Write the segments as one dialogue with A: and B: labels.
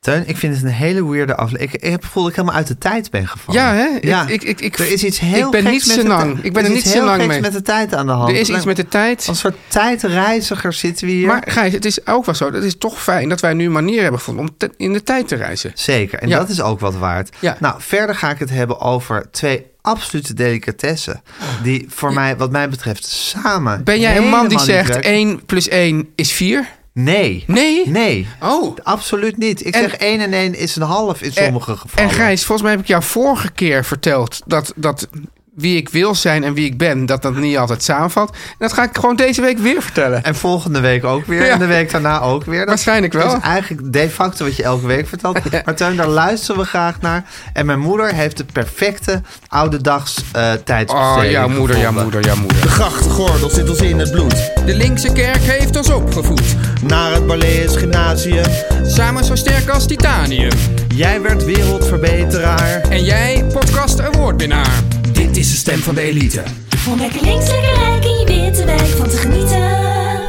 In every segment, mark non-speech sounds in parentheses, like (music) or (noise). A: Teun, ik vind het een hele weirde aflevering. Ik, ik heb het gevoel dat ik helemaal uit de tijd ben gevallen.
B: Ja, hè? Ik- ik- ik- ik-
A: er is iets heel
B: ik ben
A: geks
B: niet
A: met de
B: senang.
A: tijd-
B: Ik ben
A: er is
B: er niet
A: iets heel
B: senang
A: geks
B: mee.
A: met de tijd aan de hand.
B: Er is iets met de tijd.
A: Als soort tijdreiziger zitten we hier.
B: Maar Gijs, het is ook wel zo. Dat is toch fijn dat wij nu een manier hebben gevonden om te- in de tijd te reizen.
A: Zeker, en
B: Ja.
A: dat is ook wat waard.
B: Ja.
A: Nou, verder ga ik het hebben over twee absolute delicatessen. Die voor mij, wat mij betreft, samen.
B: Ben jij een man
A: helemaal
B: die
A: niet
B: zegt
A: werken.
B: 1 plus 1 is 4?
A: Nee.
B: Nee?
A: Nee.
B: Oh.
A: Absoluut niet. Ik
B: En-
A: zeg 1 en 1 is een half in sommige gevallen.
B: En Gijs, volgens mij heb ik jou vorige keer verteld dat, dat wie ik wil zijn en wie ik ben, dat dat niet altijd samenvalt. En dat ga ik gewoon deze week weer vertellen.
A: En volgende week ook weer.
B: Ja.
A: En de week daarna ook weer. Dat
B: Waarschijnlijk wel.
A: is eigenlijk de facto wat je elke week
B: (laughs)
A: vertelt. Maar Teun, daar luisteren we graag naar. En mijn moeder heeft de perfecte oude dags eh
B: Oh,
A: tijdsbesteding
B: jouw moeder, jouw
A: gevonden.
B: moeder, jouw moeder.
C: Grachtgordel zit ons in het bloed.
B: De linkse kerk heeft ons opgevoed.
C: Naar het Balees Gymnasium.
B: Samen zo sterk als titanium.
C: Jij werd wereldverbeteraar.
B: En jij, podcast awardwinnaar.
C: Dit is de stem van de elite.
D: Om lekker links, lekker rijk in je witte wijk van te genieten.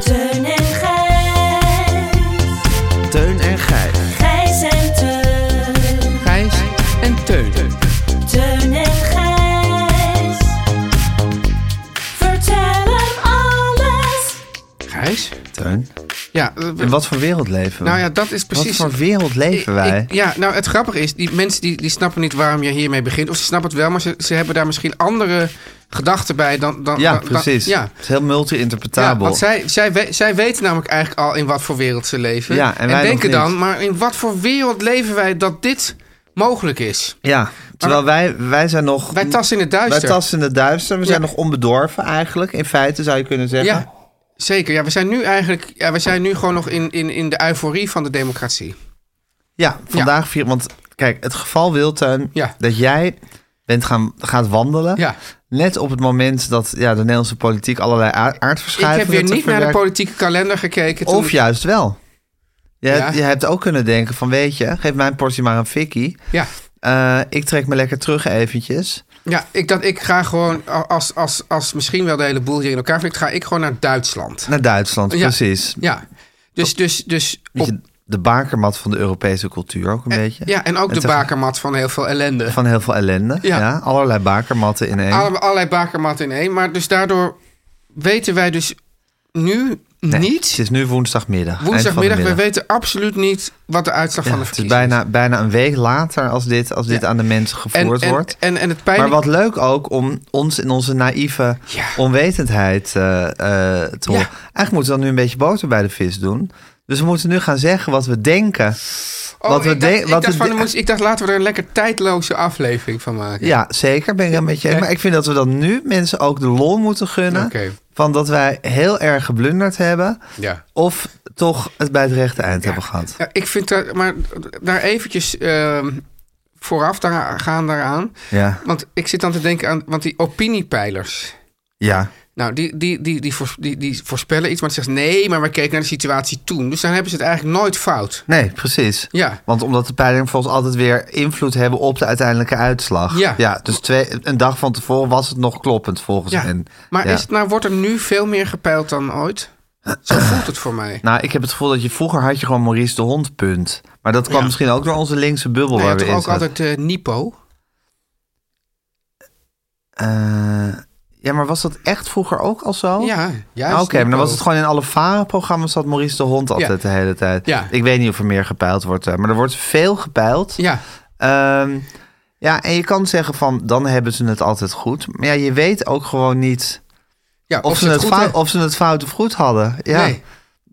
D: Teun en Gijs.
A: Teun en Gijs.
D: Gijs en Teun.
B: Gijs en Teun.
D: Teun en Gijs. Vertel hem alles.
B: Gijs?
A: Teun.
B: Ja, eh,
A: In wat voor wereld leven we?
B: nou ja, dat is precies...
A: Wat voor wereld leven
B: Ik-
A: wij?
B: ik- ja, nou het grappige is, die mensen die, die snappen niet waarom je hiermee begint. Of ze snappen het wel, maar ze, ze hebben daar misschien andere gedachten bij dan... dan
A: ja,
B: dan- dan-
A: precies.
B: ja.
A: Het is heel
B: Ja,
A: multi-interpretabel.
B: want zij, zij, we- zij weten namelijk eigenlijk al in wat voor wereld ze leven.
A: Ja, en wij nog
B: denken
A: niet.
B: dan, maar in wat voor wereld leven wij dat dit mogelijk is?
A: Ja, terwijl wij, wij zijn nog...
B: Wij tasten in het
A: Wij
B: duister.
A: tasten in het duister. We zijn
B: Ja.
A: nog onbedorven eigenlijk. In feite zou je kunnen zeggen.
B: ja, zeker. Ja, we zijn nu eigenlijk ja, we zijn nu gewoon nog in, in, in de euforie van de democratie.
A: Ja, vandaag vier. Want kijk, het geval wil, Teun,
B: Ja.
A: dat jij bent gaan, gaat wandelen.
B: Ja.
A: Net op het moment dat ja, de Nederlandse politiek allerlei aard-
B: Ik
A: aardverschuivingen
B: heb weer
A: te
B: niet naar de
A: verwerken-
B: politieke kalender gekeken. toen-
A: Of juist wel. Je,
B: Ja.
A: je hebt ook kunnen denken van, weet je, geef mijn portie maar een fikkie.
B: Ja.
A: Eh, ik trek me lekker terug eventjes.
B: Ja, ik, dat, ik ga gewoon, als, als, als misschien wel de hele boel hier in elkaar vliegt, ga ik gewoon naar Duitsland.
A: Naar Duitsland,
B: Ja.
A: precies.
B: Ja, dus, dus, dus op, Eh,
A: Beetje de bakermat van de Europese cultuur ook een beetje.
B: ja, en ook de
A: tegelijk-
B: bakermat van heel veel ellende.
A: Van heel veel ellende. Ja.
B: Ja.
A: allerlei bakermatten in één.
B: Alle, allerlei bakermatten in één. Maar dus daardoor weten wij dus nu
A: Nee, Het
B: niet,
A: is nu woensdagmiddag. eind van de
B: woensdagmiddag, we
A: middag.
B: weten absoluut niet wat de uitslag
A: Ja,
B: van de
A: het is
B: verkiezingen
A: bijna, bijna een week later als dit, als dit
B: Ja.
A: aan de mensen
B: en,
A: gevoerd
B: en,
A: wordt.
B: en, en het pijn.
A: maar wat leuk ook om ons in onze naïeve
B: Ja.
A: onwetendheid eh, eh, te horen.
B: Ja.
A: Eigenlijk moeten we dan nu een beetje boter bij de vis doen. Dus we moeten nu gaan zeggen wat we denken.
B: Oh,
A: wat we
B: ik, dacht,
A: de-
B: ik,
A: wat
B: dacht
A: we
B: van,
A: de-
B: dan moest- ik dacht, laten we er een lekker tijdloze aflevering van maken.
A: Ja, zeker. Ben ik een beetje.
B: Ja.
A: Maar ik vind dat we dan nu mensen ook de lol moeten gunnen.
B: Oké.
A: Van dat wij heel erg geblunderd hebben.
B: Ja.
A: Of toch het bij het rechte eind hebben gehad.
B: Ja, ik vind dat, maar daar eventjes ehm, vooraf daar, gaan daaraan.
A: Ja.
B: Want ik zit dan te denken aan, want die opiniepeilers.
A: Ja.
B: Nou, die, die, die, die, voors- die, die voorspellen iets, maar ze zeggen nee, maar we keken naar de situatie toen. Dus dan hebben ze het eigenlijk nooit fout.
A: Nee, precies.
B: Ja.
A: Want omdat de peilingen volgens altijd weer invloed hebben op de uiteindelijke uitslag.
B: Ja.
A: dus twee, een dag van tevoren was het nog kloppend volgens
B: Ja.
A: hen.
B: Maar
A: Ja.
B: Is het, nou, wordt er nu veel meer gepeild
A: (clears throat)
B: dan ooit? Zo voelt het voor mij.
A: Nou, ik heb het gevoel dat je vroeger had je gewoon Maurice de Hond punt. Maar dat kwam
B: Ja.
A: misschien ook door onze linkse bubbel
B: Hij
A: waar
B: had
A: we
B: toch
A: in
B: ook
A: zaten.
B: altijd eh, Nipo?
A: Eh, ja, maar was dat echt vroeger ook al zo?
B: Ja, juist.
A: Ah, Oké, maar dan
B: Nipo.
A: was het gewoon in alle VARA-programma's dat Maurice de Hond altijd
B: Ja.
A: de hele tijd.
B: Ja.
A: Ik weet niet of er meer gepeild wordt, eh, maar er wordt veel gepeild.
B: Ja,
A: Ehm, ja, en je kan zeggen van, dan hebben ze het altijd goed. Maar ja, je weet ook gewoon niet
B: ja
A: of, ze, het
B: goed
A: fout,
B: hebben.
A: of ze het fout of goed hadden. Ja,
B: Nee.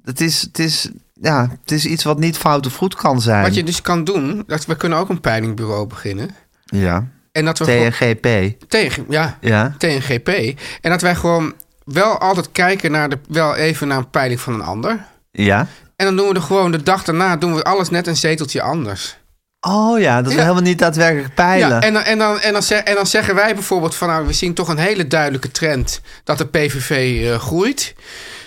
A: het, is, het, is, ja het is iets wat niet fout of goed kan zijn.
B: Wat je dus kan doen, dat we kunnen ook een peilingbureau beginnen.
A: Ja,
B: En dat we gewoon-
A: TNGP.
B: tegen, ja,
A: Ja.
B: TNGP. En dat wij gewoon wel altijd kijken naar de, wel even naar een peiling van een ander.
A: Ja.
B: En dan doen we er gewoon de dag daarna doen we alles net een zeteltje anders.
A: Oh ja, dat
B: Ja.
A: we helemaal niet daadwerkelijk peilen.
B: Ja, en, dan, en, dan, en, dan zeg, en dan zeggen wij bijvoorbeeld van nou, we zien toch een hele duidelijke trend dat de PVV eh, groeit.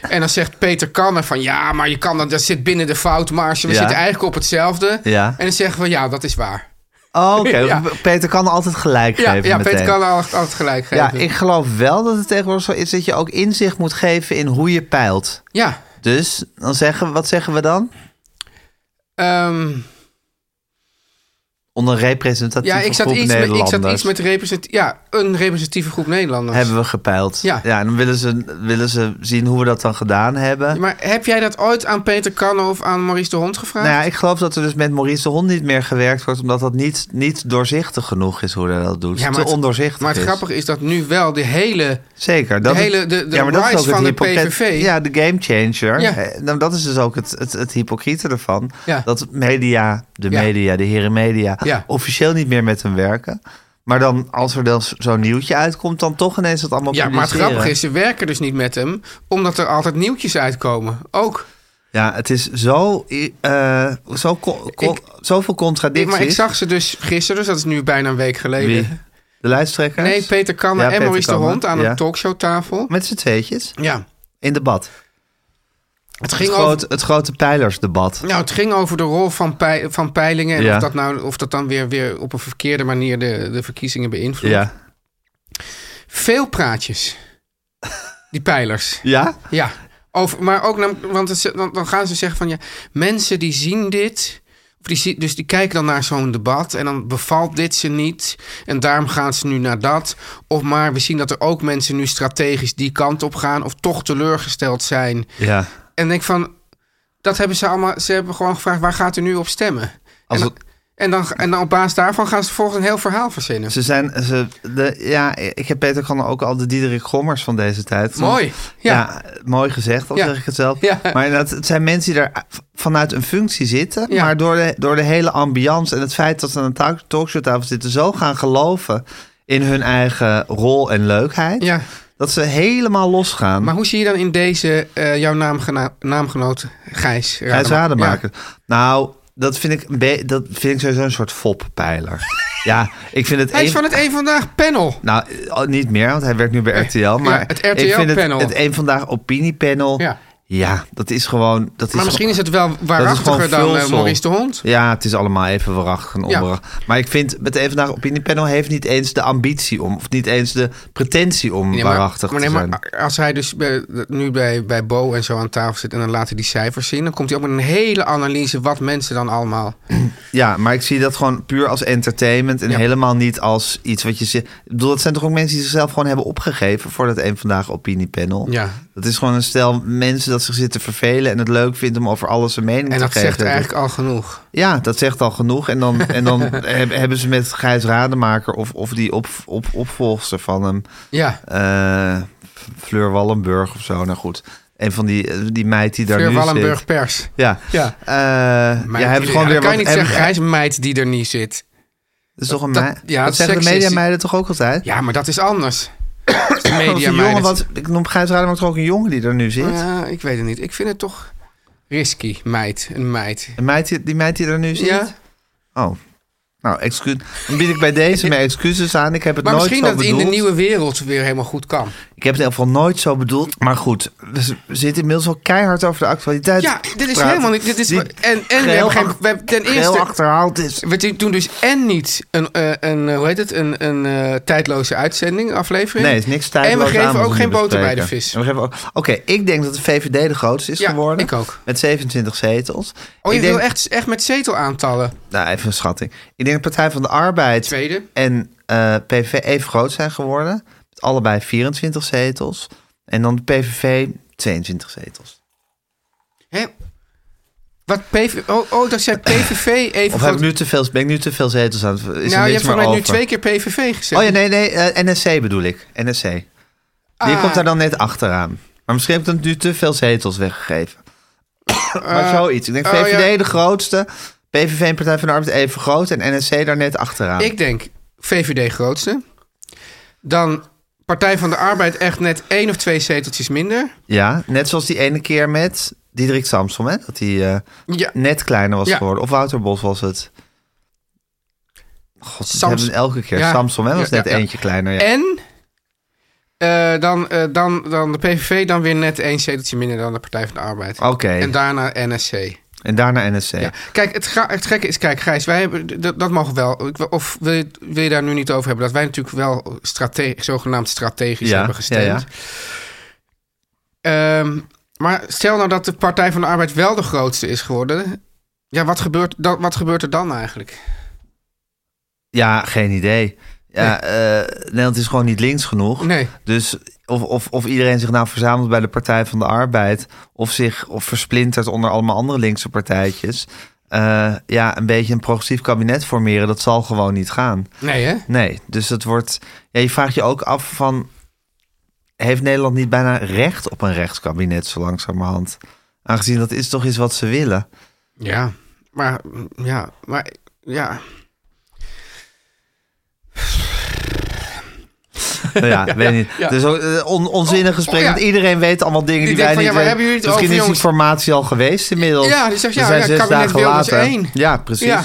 B: En dan zegt Peter Kanner van ja, maar je kan dat, dat zit binnen de foutmarge. We
A: Ja.
B: zitten eigenlijk op hetzelfde.
A: Ja.
B: En dan zeggen we (laughs) ja, dat is waar.
A: Oh, Oké,
B: Ja.
A: Peter kan altijd gelijk
B: Ja,
A: geven.
B: ja
A: meteen.
B: Peter Kanner altijd, altijd gelijk
A: Ja,
B: geven.
A: ik geloof wel dat het tegenwoordig zo is dat je ook inzicht moet geven in hoe je peilt.
B: Ja,
A: Dus dan zeggen, wat zeggen we dan?
B: ehm,
A: Onder representatieve
B: ja ik zat
A: groep
B: iets met, ik
A: Nederlanders
B: zat iets met represent, ja, een representatieve groep Nederlanders.
A: hebben we gepeild.
B: Ja.
A: en dan willen ze, willen ze zien hoe we dat dan gedaan hebben.
B: Maar heb jij dat ooit aan Peter Kanner of aan Maurice de Hond gevraagd?
A: Nou ja, ik geloof dat er dus met Maurice de Hond niet meer gewerkt wordt... omdat dat niet, niet doorzichtig genoeg is hoe hij dat doet.
B: Ja,
A: Te
B: het-
A: ondoorzichtig
B: Maar het
A: is.
B: grappige is dat nu wel de hele...
A: Zeker.
B: De hele- de- de
A: is
B: rise
A: ook het
B: van de
A: hypocriet-
B: PVV.
A: Ja, de gamechanger.
B: Ja.
A: Eh, Nou, dat is dus ook het, het, het hypocriete ervan.
B: Ja.
A: Dat media, de
B: Ja.
A: media, de heren media...
B: Ja.
A: officieel niet meer met hem werken. Maar dan, als er dan z- zo'n nieuwtje uitkomt... dan toch ineens dat allemaal
B: Ja, maar het
A: publiceren.
B: grappige is, ze werken dus niet met hem... omdat er altijd nieuwtjes uitkomen. Ook.
A: Ja, het is zo... eh, zo co- co-
B: Ik-
A: zoveel contradicties.
B: Maar ik zag ze dus gisteren, dus dat is nu bijna een week geleden.
A: Wie? De lijsttrekkers?
B: Nee, Peter Kanner
A: Ja,
B: en
A: Peter
B: Maurice de
A: Kanner,
B: Hond aan
A: ja.
B: een talkshowtafel.
A: Met z'n tweetjes
B: Ja,
A: in debat.
B: het
A: Het,
B: ging over...
A: groot, het grote pijlersdebat.
B: Nou, het ging over de rol van, pei- van peilingen en
A: Ja.
B: of, dat nou, of dat dan weer, weer op een verkeerde manier de, de verkiezingen beïnvloedt.
A: Ja.
B: Veel praatjes, die peilers.
A: Ja?
B: Ja, over, maar ook, nam- want het, dan, dan gaan ze zeggen van ja, mensen die zien dit. of Die, zie- dus die kijken dan naar zo'n debat en dan bevalt dit ze niet. En daarom gaan ze nu naar dat. Of maar we zien dat er ook mensen nu strategisch die kant op gaan. Of toch teleurgesteld zijn.
A: Ja.
B: En dan denk ik van, dat hebben ze allemaal. Ze hebben gewoon gevraagd, waar gaat u nu op stemmen?
A: Als
B: en, dan, en, dan, en dan op basis daarvan gaan ze volgens een heel verhaal verzinnen.
A: Ze zijn, ze, de, ja, ik heb Peter Kan ook al de Diederik Gommers van deze tijd.
B: Mooi, ja.
A: Ja. mooi gezegd, al
B: Ja.
A: zeg ik het zelf.
B: Ja.
A: Maar inderdaad, het zijn mensen die daar vanuit een functie zitten,
B: Ja.
A: maar door de, door de hele ambiance en het feit dat ze aan een talk- talkshowtafel zitten, zo gaan geloven in hun eigen rol en leukheid,
B: Ja.
A: dat ze helemaal losgaan.
B: Maar hoe zie je dan in deze eh, jouw naamgena- naamgenoot Gijs
A: Gijs
B: Radema-
A: Rademaker. Nou, dat vind ik, een be- dat vind ik sowieso een soort foppeiler.
B: (laughs)
A: ja, ik vind het
B: Hij is
A: een-
B: van het Eén Vandaag panel.
A: Nou, eh, niet meer, want hij werkt nu bij RTL. Maar
B: ja, het RTL
A: ik vind het,
B: panel.
A: het een vandaag opiniepanel.
B: Ja.
A: Ja. dat is gewoon. Dat is
B: Maar misschien is het wel waarachtiger
A: gewoon
B: dan eh,
A: vulsel.
B: Maurice de Hond.
A: Ja, het is allemaal even waarachtig en
B: Ja.
A: onwaarachtig. Maar ik vind, het een vandaag opiniepanel heeft niet eens de ambitie om, of niet eens de pretentie om
B: maar,
A: waarachtig
B: maar nee,
A: te zijn.
B: maar als hij dus bij- nu bij, bij Bo en zo aan tafel zit en dan laat hij die cijfers zien, dan komt hij ook met een hele analyse wat mensen dan allemaal.
A: Ja, maar ik zie dat gewoon puur als entertainment en
B: Ja.
A: helemaal niet als iets wat je zegt. Ik bedoel, dat zijn toch ook mensen die zichzelf gewoon hebben opgegeven voor dat een vandaag opiniepanel.
B: Ja.
A: Dat is gewoon een stel mensen dat zich zitten vervelen en het leuk vindt om over alles een mening
B: En
A: te
B: dat
A: geven.
B: zegt eigenlijk al genoeg.
A: Ja, dat zegt al genoeg. En dan, en dan (laughs) heb- hebben ze met Gijs Rademaker of, of die op, op, opvolgster van hem,
B: Ja.
A: eh, Fleur Wallenburg of zo. Nou goed, een van die, eh, die meid die daar
B: Fleur
A: nu
B: Wallenburg
A: zit.
B: pers.
A: Ja,
B: Ja.
A: Eh, ja hebben gewoon weer
B: kan
A: wat.
B: je niet
A: hebben-
B: zeggen, Gijs meid die er niet zit.
A: dat is toch een
B: dat-
A: meid?
B: ja,
A: dat
B: het
A: zeggen de
B: seksistisch-
A: media meiden toch ook altijd?
B: Ja, maar dat is
A: (coughs)
B: anders. Dat is
A: Of
B: media
A: een jongen,
B: meid.
A: wat, ik noem Gijs Rademaker toch ook een jongen die er nu zit.
B: Ja, ik weet het niet. Ik vind het toch risky, meid. Een meid.
A: Een meid die, die meid die er nu zit.
B: Ja.
A: Oh, Nou, excuus. Dan bied ik bij
B: (laughs)
A: deze mijn excuses aan. Ik heb het
B: Maar
A: nooit zo
B: misschien dat
A: bedoeld.
B: het in de nieuwe wereld weer helemaal goed kan.
A: Ik heb het in ieder geval nooit zo bedoeld. Maar goed, we z- we zitten inmiddels al keihard over de actualiteit.
B: Ja, dit is
A: te praten,
B: helemaal niet. Dit is,
A: die
B: en en we
A: geheel
B: hebben geen,
A: ach-
B: we hebben ten
A: geheel
B: eerste.
A: achterhaald is.
B: We doen toen dus en niet een, eh, een eh, hoe heet het, een, een eh, tijdloze uitzending, aflevering.
A: Nee, het is niks tijdloos
B: En we
A: aan
B: geven
A: wat
B: ook
A: nu
B: geen boter bij
A: bespreken. Oh,
B: de vis.
A: En we geven ook- Oké, ik denk dat de VVD de grootste is
B: Ja,
A: geworden.
B: ik ook.
A: Met 27 zetels.
B: Oh, je
A: ik
B: wil
A: denk,
B: echt, echt met zetelaantallen.
A: Nou, even een schatting. Ik denk dat Partij van de Arbeid
B: Tweede.
A: en eh PVV even groot zijn geworden. Met allebei 24 zetels. En dan de PVV 22 zetels.
B: Hè? Wat PV, oh, oh, dat zei PVV even
A: Of
B: groot-
A: heb ik nu te veel, ben ik nu te veel zetels aan het... Is er
B: nou,
A: niks
B: je hebt
A: meer
B: voor mij nu
A: over?
B: twee keer PVV gezegd.
A: Oh ja, nee, nee, eh, NSC bedoel ik. NSC. Die
B: Ah.
A: komt daar dan net achteraan. Maar misschien heb ik dan nu te veel zetels weggegeven. maar zoiets. Ik denk
B: oh,
A: VVD
B: ja.
A: de grootste, PVV en Partij van de Arbeid even groot en NSC daar net achteraan.
B: Ik denk VVD grootste. Dan Partij van de Arbeid echt net één of twee zeteltjes minder.
A: Ja, net zoals die ene keer met Diederik Samsom, hè? Dat hij eh,
B: Ja,
A: net kleiner was
B: Ja.
A: geworden. Of Wouter Bos was het. God,
B: Sams-
A: dat hebben we elke keer.
B: Ja.
A: Samsom, hè? Was
B: Ja,
A: net
B: ja, ja.
A: eentje kleiner. Ja.
B: En eh, dan, eh, dan, dan de PVV dan weer net één zeteltje minder dan de Partij van de Arbeid.
A: Oké,
B: En
A: en,
B: daarna NSC. Ja.
A: daarna NSC.
B: Kijk, het, gra- het gekke is, kijk Gijs, wij hebben, dat, dat mogen wel. Ik wil- Of wil je, wil je daar nu niet over hebben? Dat wij natuurlijk wel strate- zogenaamd strategisch
A: Ja,
B: hebben
A: ja,
B: gestemd. Ehm, maar stel nou dat de Partij van de Arbeid wel de grootste is geworden. Ja, wat gebeurt, dan, wat gebeurt er dan eigenlijk?
A: Ja, geen idee. Ja, eh, Nederland is gewoon niet links genoeg.
B: Nee.
A: Dus of, of, of iedereen zich nou verzamelt bij de Partij van de Arbeid... of zich of versplintert onder allemaal andere linkse partijtjes... eh, ja, een beetje een progressief kabinet formeren... dat zal gewoon niet gaan.
B: Nee, hè?
A: Nee, dus dat wordt... Ja, je vraagt je ook af van... heeft Nederland niet bijna recht op een rechtskabinet zo langzamerhand? Aangezien dat is toch eens wat ze willen.
B: Ja, maar mm, ja, maar ja.
A: Nou ja, weet niet.
B: (laughs) ja.
A: Dus ook eh, on, onzinnig
B: Oh,
A: gesprek,
B: oh, ja.
A: want iedereen weet allemaal dingen die,
B: Ik denk
A: wij
B: van,
A: niet
B: ja, waar
A: weten.
B: hebben jullie het
A: Misschien
B: over,
A: is die formatie al geweest inmiddels.
B: Ja, die zegt,
A: We
B: ja,
A: zijn
B: ja,
A: zes
B: kabinet
A: dagen
B: Wilders
A: later.
B: één.
A: Ja, precies.
B: Ja.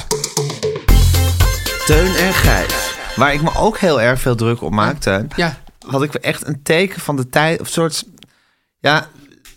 A: Teun en Gijs. Waar ik me ook heel erg veel druk om maak, Teun.
B: Ja.
A: Had ik echt een teken van de tijd, of soort... Ja,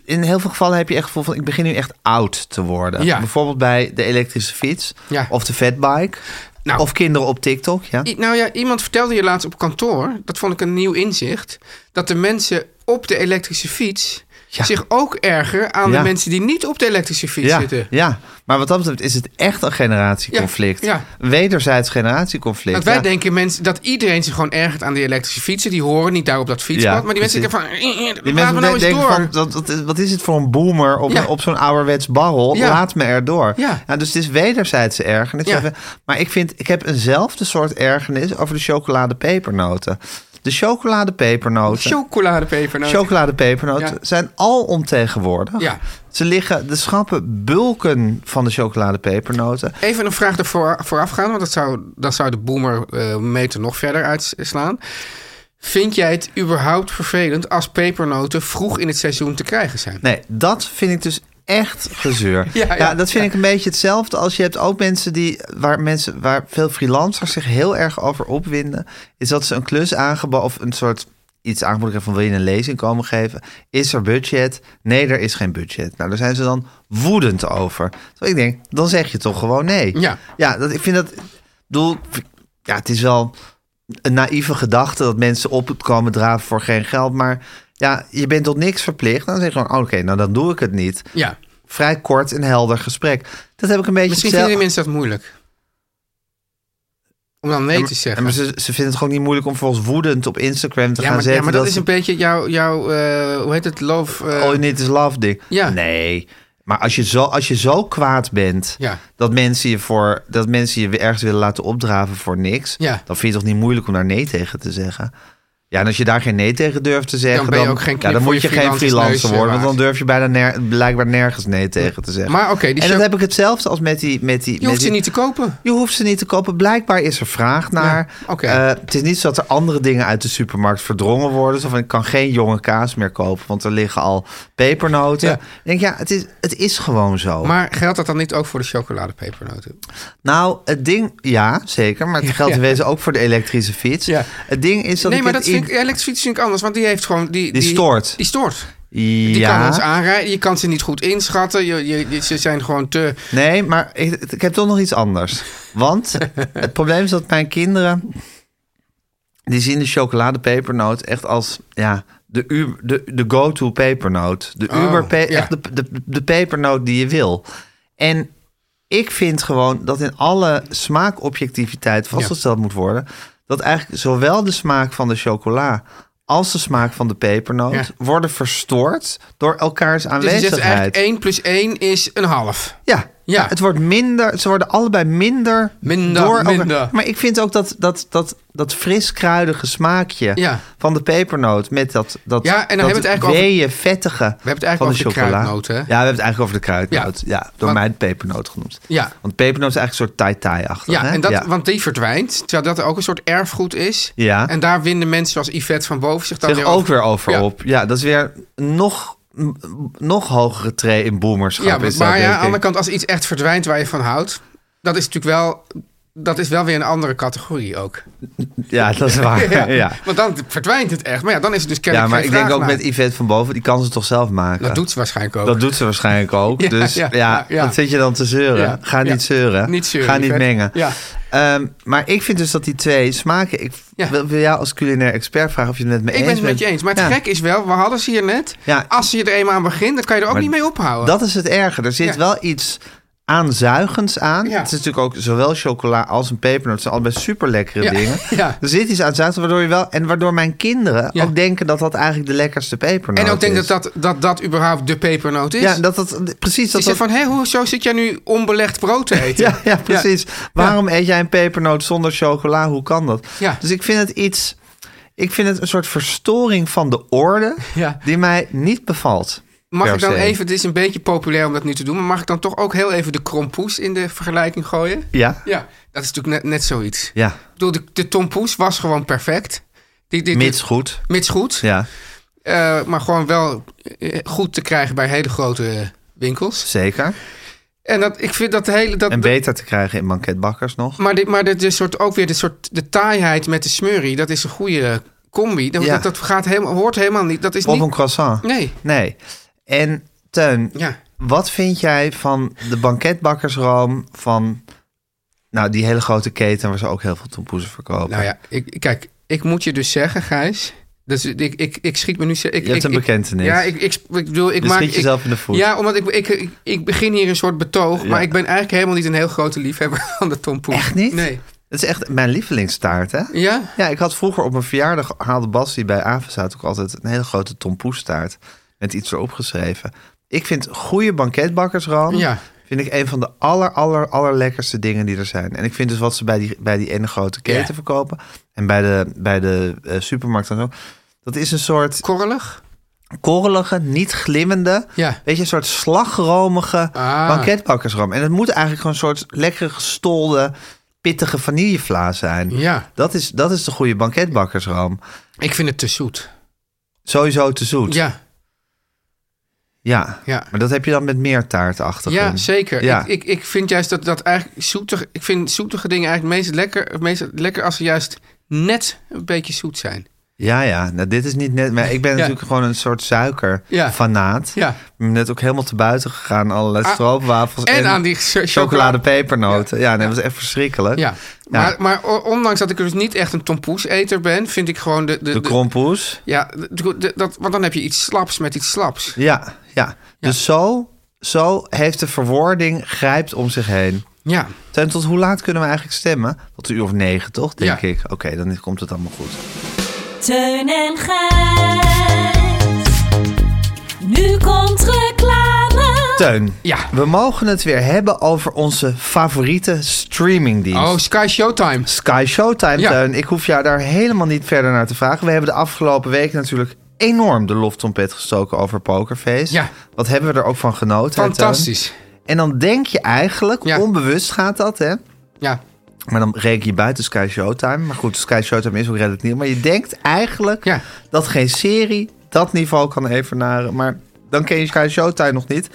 A: in heel veel gevallen heb je echt het gevoel van... ik begin nu echt oud te worden.
B: Ja.
A: Bijvoorbeeld bij de elektrische fiets.
B: Ja.
A: Of de fatbike.
B: Nou.
A: of kinderen op TikTok, ja.
B: I- Nou ja, iemand vertelde je laatst op kantoor, dat vond ik een nieuw inzicht, dat de mensen op de elektrische fiets
A: Ja.
B: zich ook erger aan
A: Ja.
B: de mensen die niet op de elektrische fiets
A: ja,
B: zitten.
A: Ja, maar wat dat betreft is het echt een generatieconflict.
B: Ja, ja.
A: Een Wederzijds generatieconflict.
B: Want wij
A: ja.
B: denken mensen, dat iedereen zich gewoon ergert aan die elektrische fietsen. Die horen niet daar op dat fietspad.
A: Ja,
B: maar die mensen denken van,
A: die
B: laten
A: mensen
B: we nou eens
A: denken
B: door.
A: van, dat- dat is- wat is het voor een boomer op,
B: Ja.
A: op zo'n ouderwets barrel?
B: Ja.
A: Laat me erdoor.
B: Ja.
A: dus het is wederzijdse ergernis.
B: Ja.
A: Maar ik vind, ik heb eenzelfde soort ergernis over de chocoladepepernoten. De chocoladepepernoten.
B: Chocoladepepernoten.
A: Chocoladepepernoten
B: Ja.
A: zijn al ontegenwoordig.
B: Ja.
A: Ze liggen, de schappen bulken van de chocoladepepernoten.
B: Even een vraag ervoor voorafgaan, want dat zou, dat zou de boomer eh, meter nog verder uitslaan. Vind jij het überhaupt vervelend als pepernoten vroeg in het seizoen te krijgen zijn?
A: Nee, dat vind ik dus echt gezeur.
B: Ja,
A: ja,
B: ja,
A: dat vind
B: ja.
A: ik een beetje hetzelfde als je hebt ook mensen die waar mensen waar veel freelancers zich heel erg over opwinden, is dat ze een klus aangeboden of een soort iets aangeboden krijgen van wil je een lezing komen geven? Is er budget? Nee, er is geen budget. Nou, daar zijn ze dan woedend over. Terwijl ik denk, dan zeg je toch gewoon nee.
B: Ja.
A: Ja, dat, ik vind dat. ik bedoel, ja, het is wel een naïeve gedachte dat mensen opkomen draven voor geen geld. Maar ja, je bent tot niks verplicht. Dan zeg je gewoon, oké, nou dan doe ik het niet.
B: Ja,
A: Vrij kort en helder gesprek. Dat heb ik een beetje
B: misschien
A: zelf-
B: vinden die mensen dat moeilijk. Om dan nee te
A: En
B: zeggen.
A: maar ze, ze vinden het gewoon niet moeilijk om volgens woedend op Instagram te
B: ja,
A: gaan
B: maar,
A: zetten.
B: ja, maar dat is
A: ze- Oh,
B: een beetje jouw, jouw eh, hoe heet het, love... eh,
A: All you need is love ding.
B: Ja.
A: Nee. Maar als je, zo, als je zo kwaad bent
B: Ja.
A: dat, mensen je voor, dat mensen je weer ergens willen laten opdraven voor niks,
B: Ja.
A: dan vind je het toch niet moeilijk om daar nee tegen te zeggen. Ja, en als je daar geen nee tegen durft te zeggen,
B: Dan ben je ook geen
A: ja,
B: knip
A: dan
B: voor
A: moet
B: je
A: je geen
B: freelancers
A: freelancer
B: neusje
A: worden. Want dan
B: waard.
A: durf je bijna ner- blijkbaar nergens nee tegen te zeggen.
B: Maar oké, die
A: en
B: show-
A: dan heb ik hetzelfde als met die... Met die
B: Je
A: met
B: hoeft
A: die,
B: ze niet te kopen.
A: Je hoeft ze niet te kopen. Blijkbaar is er vraag naar.
B: Ja, oké.
A: Eh, het is niet zo dat er andere dingen uit de supermarkt verdrongen worden. Zo van, ik kan geen jonge kaas meer kopen, want er liggen al pepernoten.
B: Ja.
A: Ik denk, ja, het is, het is gewoon zo.
B: Maar geldt dat dan niet ook voor de chocoladepepernoten?
A: nou, het ding... Ja, zeker. Maar het
B: Ja.
A: geldt in wezen ook voor de elektrische fiets.
B: Ja.
A: Het ding is dat
B: Nee,
A: ik het
B: maar dat vind
A: in-
B: ik, elektrische fiets vind ik anders, want die heeft gewoon... Die,
A: Die stoort.
B: Die stoort.
A: Ja.
B: Die kan ons aanrijden, je kan ze niet goed inschatten, je, je, je- ze zijn gewoon te...
A: Nee, maar ik, ik heb toch nog iets anders. Want het probleem is dat mijn kinderen... die zien de chocoladepepernoot echt als... Ja, de, u- de, de go-to pepernoot. De
B: Oh,
A: Uber... pe-
B: ja.
A: Echt de, de, de pepernoot die je wil. En ik vind gewoon dat in alle smaakobjectiviteit vastgesteld moet worden... dat eigenlijk zowel de smaak van de chocola... als de smaak van de pepernoot...
B: Ja.
A: worden verstoord door elkaars
B: Dus je
A: aanwezigheid.
B: zegt eigenlijk 1 plus 1 is een half.
A: Ja,
B: Ja.
A: het wordt minder. Ze worden allebei minder.
B: Minder,
A: door elkaar.
B: minder.
A: Maar ik vind ook dat, dat, dat, dat fris kruidige smaakje
B: Ja.
A: van de pepernoot met dat, dat, dat
B: Ja, en dan hebben we het eigenlijk over-
A: weeën, vettige we hebben
B: het eigenlijk
A: van de,
B: over de
A: chocola.
B: kruidnoot, hè?
A: Ja, we hebben het eigenlijk over de kruidnoot. Ja, door
B: Want-
A: mij de pepernoot genoemd.
B: Ja.
A: Want pepernoot is eigenlijk een soort tai-tai-achtig.
B: Ja,
A: hè?
B: en dat,
A: ja.
B: want die verdwijnt, terwijl dat ook een soort erfgoed is.
A: Ja.
B: En daar winnen mensen zoals Yvette van Boven zich dan
A: zich
B: weer
A: ook weer over
B: Ja.
A: op. Ja, dat is weer nog, m- nog hogere tree in boomerschap.
B: Ja,
A: is dat,
B: maar ja, aan
A: denk
B: de
A: ik.
B: andere kant, als iets echt verdwijnt waar je van houdt, dat is natuurlijk wel, dat is wel weer een andere categorie ook.
A: Ja, dat is
B: (laughs)
A: waar. ja.
B: Want dan verdwijnt het echt. Maar ja, dan is het dus
A: Ja,
B: kennelijk
A: maar
B: geen
A: ik denk
B: vraag
A: ook
B: naar.
A: met Yvette van Boven, die kan ze toch zelf maken.
B: Dat doet ze waarschijnlijk ook.
A: Dat doet ze waarschijnlijk ook.
B: (laughs) Ja,
A: dus
B: ja,
A: ja,
B: ja.
A: wat zit je dan te zeuren?
B: Ja,
A: Ga
B: ja.
A: niet zeuren.
B: Niet zeuren,
A: Ga niet
B: Yvette.
A: mengen.
B: Ja.
A: Ehm, maar ik vind dus dat die twee smaken... Ik
B: Ja.
A: wil, wil jou als culinair expert vragen of je het met me
B: ik
A: eens
B: ben
A: bent.
B: het met je eens. Maar het
A: Ja.
B: gek is wel, we hadden ze hier net.
A: Ja.
B: Als je er eenmaal aan begint, dan kan je er ook
A: Maar
B: niet mee ophouden.
A: Dat is het erge. Er zit
B: Ja.
A: wel iets aanzuigends aan.
B: Ja.
A: Het is natuurlijk ook zowel chocola als een pepernoot. Het zijn allebei super lekkere
B: Ja,
A: dingen.
B: (laughs) ja.
A: Er zit iets aanzuigends waardoor je wel... En waardoor mijn kinderen
B: Ja.
A: ook denken dat dat eigenlijk de lekkerste pepernoot is.
B: en ook denk dat dat, dat dat überhaupt de pepernoot is.
A: Ja, dat dat... Precies.
B: Die
A: Dat
B: zegt
A: dat
B: van, hé, hoezo zit jij nu onbelegd brood te
A: (laughs)
B: eten?
A: Ja, ja precies. Waarom eet jij een pepernoot zonder chocola? Hoe kan dat?
B: Ja.
A: Dus ik vind het iets. Ik vind het een soort verstoring van de orde
B: Ja.
A: die mij niet bevalt.
B: Mag
A: per
B: ik dan
A: se.
B: even, het is een beetje populair om dat nu te doen, maar mag ik dan toch ook heel even de krompoes in de vergelijking gooien?
A: Ja.
B: Ja, dat is natuurlijk net, net zoiets.
A: Ja.
B: Ik bedoel, de, de tompoes was gewoon perfect. Die, die, die-
A: Mits goed.
B: mits goed.
A: Ja,
B: Eh, maar gewoon wel eh, goed te krijgen bij hele grote eh, winkels.
A: zeker.
B: En dat, ik vind dat de hele... Dat,
A: En beter te krijgen in banketbakkers nog.
B: Maar, dit, maar dit, dit soort, ook weer de, soort, de taaiheid met de smurrie, dat is een goede combi. Dat,
A: Ja.
B: dat, dat gaat helemaal, hoort helemaal niet. Dat is
A: Of
B: niet...
A: een croissant.
B: Nee.
A: Nee. En Teun,
B: Ja.
A: wat vind jij van de banketbakkersroom van... Nou, die hele grote keten waar ze ook heel veel tompoezen verkopen.
B: Nou ja, ik, kijk, ik moet je dus zeggen, Gijs. Dus ik, ik, ik schiet me nu... ze- Ik,
A: Je hebt
B: ik-
A: een
B: ik-
A: bekentenis.
B: Ja, ik, ik, ik bedoel, ik
A: Je
B: maak...
A: schiet
B: ik-
A: jezelf in de voet.
B: Ja, omdat ik, ik, ik, ik begin hier een soort betoog. Maar ik ben eigenlijk helemaal niet een heel grote liefhebber (laughs) van de tompoes.
A: Echt niet?
B: Nee.
A: Het is echt mijn lievelingstaart, hè?
B: Ja?
A: Ja, ik had vroeger op mijn verjaardag haalde Bas die bij Avenzaat ook altijd een hele grote tompoestaart met iets erop geschreven. Ik vind goede banketbakkersroom
B: Ja.
A: vind ik een van de aller aller allerlekkerste dingen die er zijn. En ik vind dus wat ze bij die bij die ene grote keten
B: Ja.
A: verkopen en bij de bij de eh, supermarkt dan ook. Dat is een soort
B: Korrelig?
A: korrelige, niet glimmende,
B: Ja.
A: beetje een soort slagromige
B: Ah.
A: banketbakkersroom. En het moet eigenlijk gewoon een soort lekkere gestolde, pittige vanillevla zijn.
B: Ja.
A: Dat is, dat is de goede banketbakkersroom.
B: Ik vind het te zoet.
A: Sowieso te zoet.
B: Ja.
A: Ja.
B: Ja.
A: Maar dat heb je dan met meer taartachtig.
B: Ja, zeker.
A: Ja.
B: Ik, ik, ik vind juist dat, dat eigenlijk zoetig... Ik vind zoetige dingen eigenlijk het meest lekker, het meest lekker als ze juist net een beetje zoet zijn.
A: ja, ja. Nou, dit is niet net... Maar ik ben
B: (laughs) Ja.
A: natuurlijk gewoon een soort suikerfanaat.
B: Ja.
A: Ik ben net ook helemaal te buiten gegaan. Allerlei
B: Ah,
A: stroopwafels.
B: en aan die cho-
A: chocoladepepernoten. Ja, nee, dat was echt verschrikkelijk.
B: Ja. Maar, maar o- ondanks dat ik dus niet echt een tompoeseter ben, vind ik gewoon de...
A: De krompoes.
B: Ja, de- de- de- dat, want dan heb je iets slaps met iets slaps.
A: Ja, ja. Dus zo, zo heeft de verwoording grijpt om zich heen.
B: Ja.
A: Ten tot hoe laat kunnen we eigenlijk stemmen? Tot een uur of negen, toch? Denk
B: Ja.
A: ik. Oké, dan komt het allemaal goed.
D: Teun en Gijs. Nu komt reclame.
A: Teun,
B: Ja.
A: we mogen het weer hebben over onze favoriete streamingdienst.
B: Oh, Sky Showtime.
A: Sky Showtime,
B: Ja.
A: Teun. Ik hoef jou daar helemaal niet verder naar te vragen. We hebben de afgelopen week natuurlijk enorm de loftrompet gestoken over Pokerface.
B: Ja.
A: Wat hebben we er ook van genoten, hè, Teun?
B: Fantastisch.
A: En dan denk je eigenlijk,
B: Ja.
A: onbewust gaat dat, hè?
B: Ja.
A: Maar dan reken je buiten Sky Showtime. Maar goed, Sky Showtime is ook redelijk nieuw. Maar je denkt eigenlijk
B: Ja.
A: dat geen serie dat niveau kan evenaren. Maar dan ken je Sky Showtime nog niet.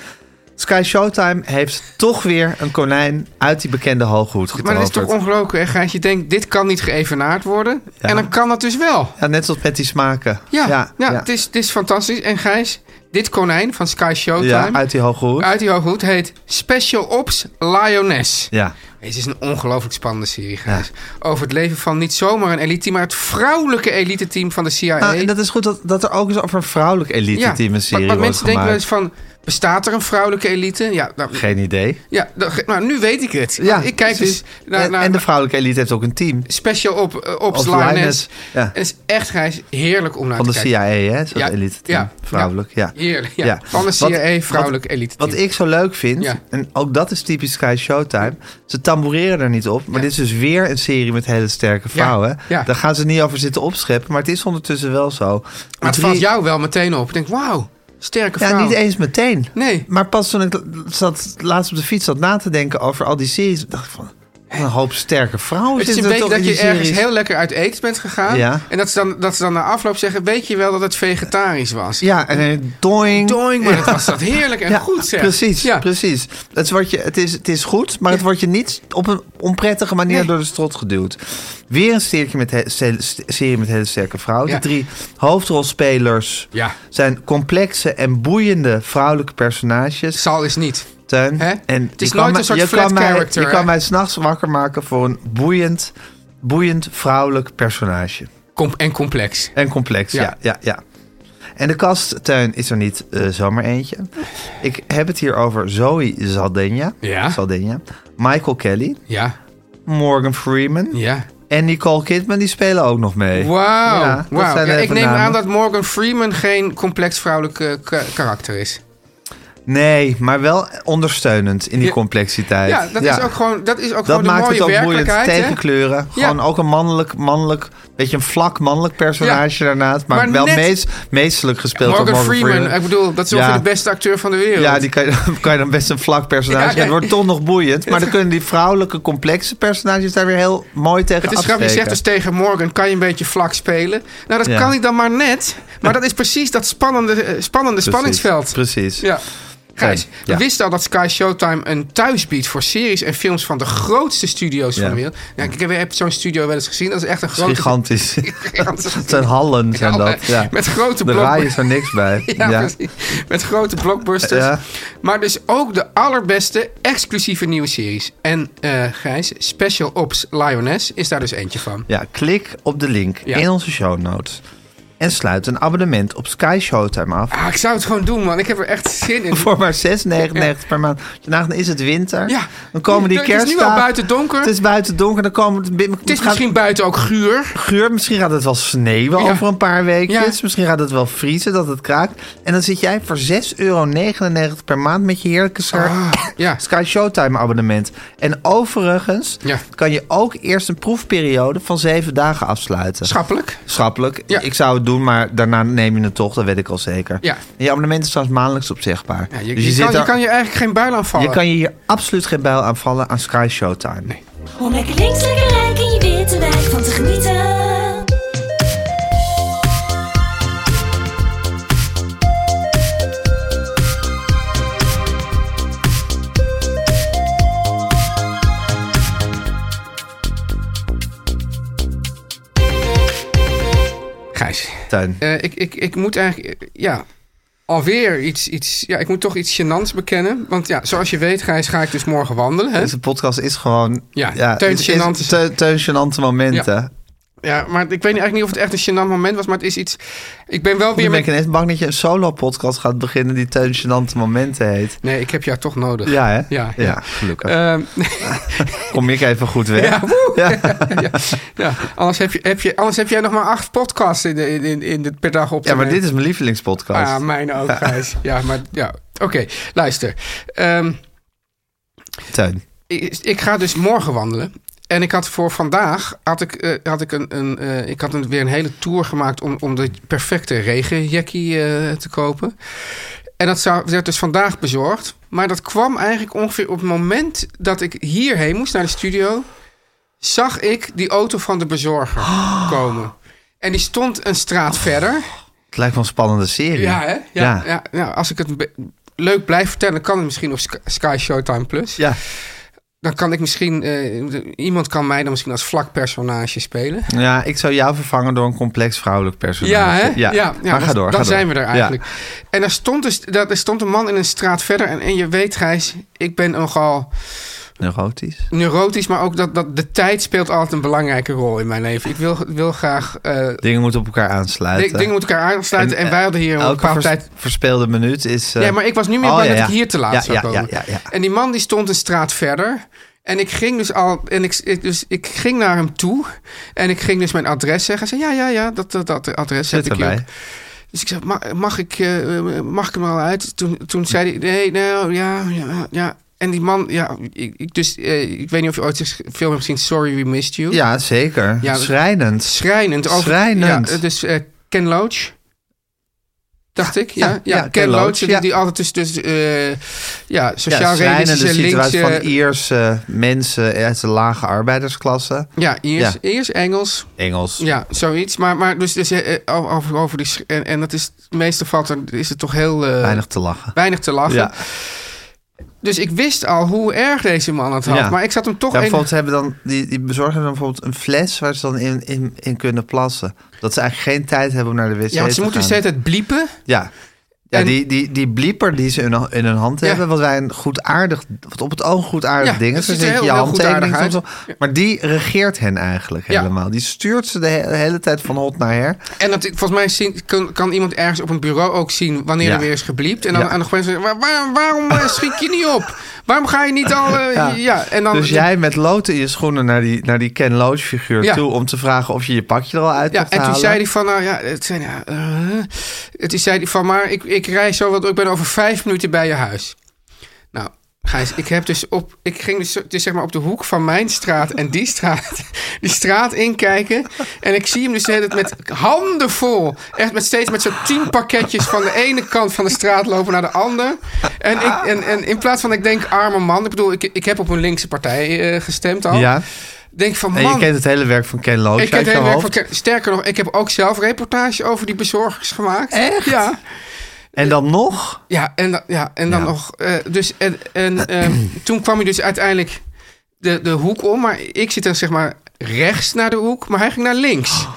A: Sky Showtime heeft toch weer een konijn uit die bekende hoge hoed
B: Maar dat is
A: getoverd.
B: toch ongelooflijk, hè, Gijs? Je denkt, dit kan niet geëvenaard worden. En dan kan dat dus wel.
A: Ja, net zoals Patty Smaken.
B: Ja, ja,
A: ja.
B: Het, is, het is fantastisch. En Gijs, dit konijn van Sky Showtime...
A: Ja, uit die hoge hoed.
B: uit die hooghoed heet Special Ops Lioness.
A: Ja.
B: Het is een ongelooflijk spannende serie, Gijs. Over het leven van niet zomaar een elite, maar het vrouwelijke elite-team van de CIA.
A: Ah, en dat is goed dat, dat er ook eens over een vrouwelijk elite
B: ja,
A: team een serie
B: want- want
A: wordt
B: mensen denken wel
A: gemaakt.
B: eens van, bestaat er een vrouwelijke elite? Ja, nou,
A: Geen idee.
B: ja dat ge- nou, nu weet ik het.
A: Ja,
B: Want ik kijk
A: precies.
B: dus naar,
A: en,
B: naar
A: en de vrouwelijke elite heeft ook een team.
B: Special Op, eh, Ops
A: Ops
B: Lioness.
A: Lioness, ja.
B: En het is echt, Gijs, heerlijk om naar
A: Van
B: te
A: de
B: kijken.
A: CIA, hè? Zo'n
B: Ja,
A: elite team.
B: ja,
A: Vrouwelijk, ja.
B: Heerlijk, ja.
A: Ja.
B: Van de
A: Wat-
B: CIA, vrouwelijk elite
A: Wat e- ik zo leuk vind,
B: Ja.
A: en ook dat is typisch Sky Showtime, ze tamboureren er niet op. Maar dit is dus weer een serie met hele sterke vrouwen.
B: ja.
A: Daar gaan ze niet over zitten opscheppen, maar het is ondertussen wel zo.
B: Maar het
A: Drie-
B: valt jou wel meteen op. Ik denk, wauw, sterke vrouw.
A: e- Ja, niet e- eens meteen.
B: Nee.
A: Maar pas toen ik zat, laatst op de fiets zat na te denken over al die series, dacht ik van, wat een hoop sterke vrouwen
B: Het is
A: zitten
B: een
A: er
B: beetje
A: toch in
B: dat
A: die
B: je ergens
A: series.
B: heel lekker uit eten bent gegaan.
A: Ja.
B: En dat ze, dan, dat ze dan na afloop zeggen, weet je wel dat het vegetarisch was?
A: Ja, en een doing.
B: Doing, maar dat was dat heerlijk en
A: Ja,
B: goed zeg.
A: Precies,
B: Ja.
A: precies. Het is, wat je, het, is, het is goed, maar het wordt je niet op een onprettige manier door de strot geduwd. Weer een serie met, he- se- se- serie met hele sterke vrouwen.
B: Ja.
A: De drie hoofdrolspelers
B: Ja.
A: zijn complexe en boeiende vrouwelijke personages.
B: Zal is niet.
A: Teun,
B: Hè?
A: En
B: Het is
A: je kan
B: nooit
A: mij-
B: een soort
A: je
B: flat
A: kan mij,
B: character,
A: Je
B: hè?
A: kan mij s'nachts wakker maken voor een boeiend, boeiend vrouwelijk personage.
B: Com en complex.
A: En complex, ja.
B: Ja.
A: ja, ja, En de kasttuin is er niet eh, zomaar eentje. Ik heb het hier over Zoe Saldana,
B: Ja.
A: Saldana, Michael Kelly,
B: Ja,
A: Morgan Freeman
B: ja.
A: en Nicole Kidman. Die spelen ook nog mee.
B: Wauw.
A: Ja, dat
B: wauw.
A: zijn
B: Ja,
A: even
B: ik neem
A: namen.
B: aan dat Morgan Freeman geen complex vrouwelijk eh, ka- karakter is.
A: Nee, maar wel ondersteunend in die
B: Ja.
A: complexiteit.
B: Ja, dat is ook gewoon, dat is ook
A: Dat
B: gewoon de
A: maakt
B: mooie
A: het ook moeilijk
B: werkelijkheid. hè?
A: tegenkleuren.
B: Ja.
A: Gewoon ook een mannelijk, mannelijk, beetje een vlak mannelijk personage daarnaast. Maar,
B: Maar
A: wel
B: net-
A: meest, meestelijk gespeeld
B: Morgan,
A: door Morgan
B: Freeman, ik bedoel, dat is ongeveer
A: Ja.
B: de beste acteur van de wereld.
A: Ja, die kan je, kan je dan (laughs) best een vlak personage.
B: Ja,
A: en het
B: ja.
A: wordt toch nog boeiend.
B: (laughs)
A: Maar dan kunnen die vrouwelijke, complexe personages daar weer heel mooi tegen
B: Het is
A: afsteken.
B: grappig, je zegt dus tegen Morgan, kan je een beetje vlak spelen? Nou, dat
A: Ja.
B: kan ik dan maar net. Maar
A: (laughs)
B: dat is precies dat spannende, eh, spannende
A: Precies,
B: spanningsveld.
A: Precies.
B: Ja. Gijs,
A: Fijn,
B: je
A: ja.
B: wist al dat Sky Showtime een thuis biedt voor series en films van de grootste studio's van
A: Ja.
B: de wereld. Nou, ik heb- heb zo'n studio wel eens gezien. Dat is echt een
A: Het is
B: grote... (laughs)
A: Gigantisch.
B: gigantische-
A: Het zijn hallen, zijn dat. Ja.
B: Met grote
A: Daar
B: blokken.
A: raai is er niks bij.
B: (laughs) Ja, precies. Met grote blockbusters.
A: Ja.
B: Maar dus ook de allerbeste exclusieve nieuwe series. En eh, Gijs, Special Ops Lioness is daar dus eentje van.
A: Ja, klik op de link
B: Ja.
A: in onze show notes. En sluit een abonnement op Sky Showtime af. (laughs)
B: Ah, ik zou het gewoon doen, man. Ik heb er echt zin in.
A: Voor maar 6,99 per maand. Vandaag is het winter.
B: Ja.
A: Dan komen die
B: Het is nu al
A: kerstdagen.
B: buiten donker.
A: Het is buiten donker. Dan komen,
B: Het is misschien buiten ook guur.
A: geur. Misschien gaat het wel sneeuwen
B: Ja.
A: over een paar weekjes.
B: Ja.
A: Misschien gaat het wel vriezen dat het kraakt. En dan zit jij voor 6,99 euro per maand met je heerlijke Sky-
B: Ah, ja.
A: (coughs) Sky Showtime abonnement. En overigens
B: Ja.
A: kan je ook eerst een proefperiode van 7 dagen afsluiten.
B: Schappelijk.
A: Schappelijk.
B: Ja.
A: Ik zou het doen, maar daarna neem je het toch. Dat weet ik al zeker.
B: Ja.
A: En je abonnement is trouwens maandelijks opzegbaar.
B: Ja, je,
A: Dus
B: je
A: zit
B: kan, je
A: daar-
B: kan je eigenlijk geen buil aanvallen.
A: je kan je hier absoluut geen bijl aanvallen aan Sky Showtime.
B: Nee.
D: Om lekker links, lekker rijk in je witte wijk van te genieten.
B: Gijs,
A: Tuin.
B: eh, ik, ik, ik moet eigenlijk... eh, Ja, alweer iets, iets... Ja, ik moet toch iets gênants bekennen. Want ja, zoals je weet, Gijs, ga ik dus morgen wandelen. Hè?
A: Deze podcast is gewoon...
B: Ja, Teun
A: het is-
B: gênante-
A: Teun- Teun gênante momenten.
B: Ja, maar ik weet eigenlijk niet of het echt een gênant moment was, maar het is iets... Ik ben wel weer...
A: Dan ben ik
B: Met...
A: ineens bang dat je een solo-podcast gaat beginnen die Teun Gênante Momenten heet.
B: Nee, ik heb jou toch nodig.
A: Ja, hè?
B: Ja,
A: ja.
B: ja.
A: gelukkig.
B: Ehm, (laughs)
A: Kom ik even goed weg.
B: ja, woe.
A: Ja.
B: (laughs) ja, ja. Anders, heb je, heb je, anders heb jij nog maar acht podcasts in de, in, in, in de, per dag op te
A: Ja, maar
B: nemen.
A: dit is mijn lievelingspodcast.
B: Ah, mijn ook, Gijs. Ja, maar ja. Oké, luister. Ehm,
A: Teun.
B: ik, ik ga dus morgen wandelen. En ik had voor vandaag had ik, eh, had ik, een, een, eh, ik had een, weer een hele tour gemaakt om, om de perfecte regenjackie eh, te kopen. En dat zou, werd dus vandaag bezorgd. Maar dat kwam eigenlijk ongeveer op het moment dat ik hierheen moest naar de studio. Zag ik die auto van de bezorger komen. En die stond een straat verder.
A: Het lijkt wel een spannende serie.
B: Ja, hè? Ja,
A: Ja.
B: ja. ja, als ik het een be- leuk blijf vertellen, kan het misschien op Sk- Sky Showtime Plus.
A: Ja.
B: Dan kan ik misschien, eh, iemand kan mij dan misschien als vlak personage spelen.
A: Ja, ik zou jou vervangen door een complex vrouwelijk personage.
B: Ja, hè?
A: Ja, maar ga
B: dan-
A: door.
B: Dan
A: ga door.
B: zijn we er
A: Ja.
B: eigenlijk. En daar stond, dus, daar, daar stond een man in een straat verder. En, en je weet, Gijs, ik ben nogal
A: Neurotisch.
B: neurotisch. Maar ook dat, dat de tijd speelt altijd een belangrijke rol in mijn leven. Ik wil, wil graag. eh
A: Dingen moeten op elkaar aansluiten.
B: ding- dingen moeten elkaar aansluiten. En,
A: eh,
B: wij hadden hier een
A: Elke
B: bepaalde
A: vers-
B: tijd.
A: verspeelde minuut is... eh,
B: Ja, maar ik was nu meer
A: oh,
B: bang
A: ja,
B: dat
A: ja.
B: ik hier te laat
A: Ja,
B: zou
A: ja,
B: komen.
A: ja, ja, ja.
B: En die man die stond een straat verder. En ik ging dus al. En ik, ik- dus ik ging naar hem toe. En ik ging dus mijn adres zeggen. Hij zei: Ja, ja, ja, dat, dat, dat adres
A: Zit
B: heb ik hier
A: erbij.
B: ook. Dus ik zei: "Ma- Mag ik, eh, eh, mag ik hem al uit? Toen, toen zei hij: Nee, nou ja, ja, ja. En die man, ja, ik, ik- dus, eh, ik weet niet of je ooit de film hebt gezien: Sorry We Missed You.
A: Ja, zeker.
B: Ja, dat-
A: Schrijnend.
B: Schrijnend. Over,
A: Schrijnend.
B: Ja, eh, dus eh, Ken Loach. Dacht ik, ja. Ja, Ken, Loach. die,
A: ja.
B: die altijd tussen... tussen eh, ja,
A: Ja,
B: sociaal
A: schrijnende
B: realistische eh,
A: situatie
B: linkse...
A: van Ierse mensen uit de lage arbeidersklasse.
B: ja, eerst,
A: Ja.
B: eerst Engels.
A: Engels.
B: Ja, eh, zoiets. Maar, maar dus, dus eh, eh, over, over die... sch- En, en dat is... Meestal valt er, is het toch heel... eh,
A: Weinig te lachen.
B: weinig te lachen.
A: Ja.
B: Dus ik wist al hoe erg deze man het had.
A: Ja.
B: Maar ik zat hem toch...
A: Ja,
B: een-
A: bijvoorbeeld hebben dan, die, die bezorgen dan bijvoorbeeld een fles waar ze dan in, in, in kunnen plassen. Dat ze eigenlijk geen tijd hebben om naar de wc
B: ja, want ze
A: te
B: moeten
A: gaan.
B: dus de hele tijd bliepen.
A: Ja, ja
B: En-
A: die, die, die blieper die ze in, hun- in hun hand
B: Ja.
A: hebben, wat wij een goedaardig, wat op het oog een goedaardig
B: Ja,
A: ding
B: dat
A: is. Dan
B: ziet er
A: zet je
B: heel-
A: je
B: heel
A: handtekening
B: goedaardig
A: soms op. Maar die regeert hen eigenlijk
B: Ja.
A: helemaal. Die stuurt ze de, he- de hele tijd van hot naar her.
B: En dat, volgens mij zien- kan, kan iemand ergens op een bureau ook zien wanneer
A: Ja.
B: er weer is gebliept. En dan
A: Ja.
B: aan de gewoon zeggen, waar, waar- waarom eh, schiet je niet op? Waarom ga je niet al... eh,
A: Ja.
B: ja. en dan...
A: dus jij met loten in je schoenen naar die, naar die Ken Loach figuur
B: Ja.
A: toe... om te vragen of je je pakje er al uit
B: Ja,
A: hebt
B: en toen
A: halen.
B: zei hij van, nou ja, het zijn, ja eh, het is, zei hij van, maar ik, ik rij zo, want ik ben over vijf minuten bij je huis. Nou, Gijs, ik heb dus op, ik ging dus, dus zeg maar op de hoek van mijn straat en die straat, (laughs) die straat inkijken. En ik zie hem dus de hele tijd met handen vol, echt met steeds met zo'n tien pakketjes van de ene kant van de straat lopen naar de ander. En, ik, en, en in plaats van, ik denk, arme man, ik bedoel, ik, ik heb op een linkse partij eh, gestemd al.
A: Ja,
B: Denk van,
A: en
B: man.
A: je kent het hele werk van Ken Loach
B: Ik heb
A: Oh, uit
B: het
A: je
B: hele werk
A: hoofd.
B: van Ken- Sterker nog, ik heb ook zelf reportage over die bezorgers gemaakt.
A: Echt?
B: Ja.
A: En dan nog...
B: Ja, en, dan- ja, en dan
A: Ja.
B: nog. eh, dus, en,
A: (clears throat)
B: en eh, toen kwam hij dus uiteindelijk de, de hoek om. Maar ik zit dan zeg maar rechts naar de hoek, maar hij ging naar links.
A: Oh.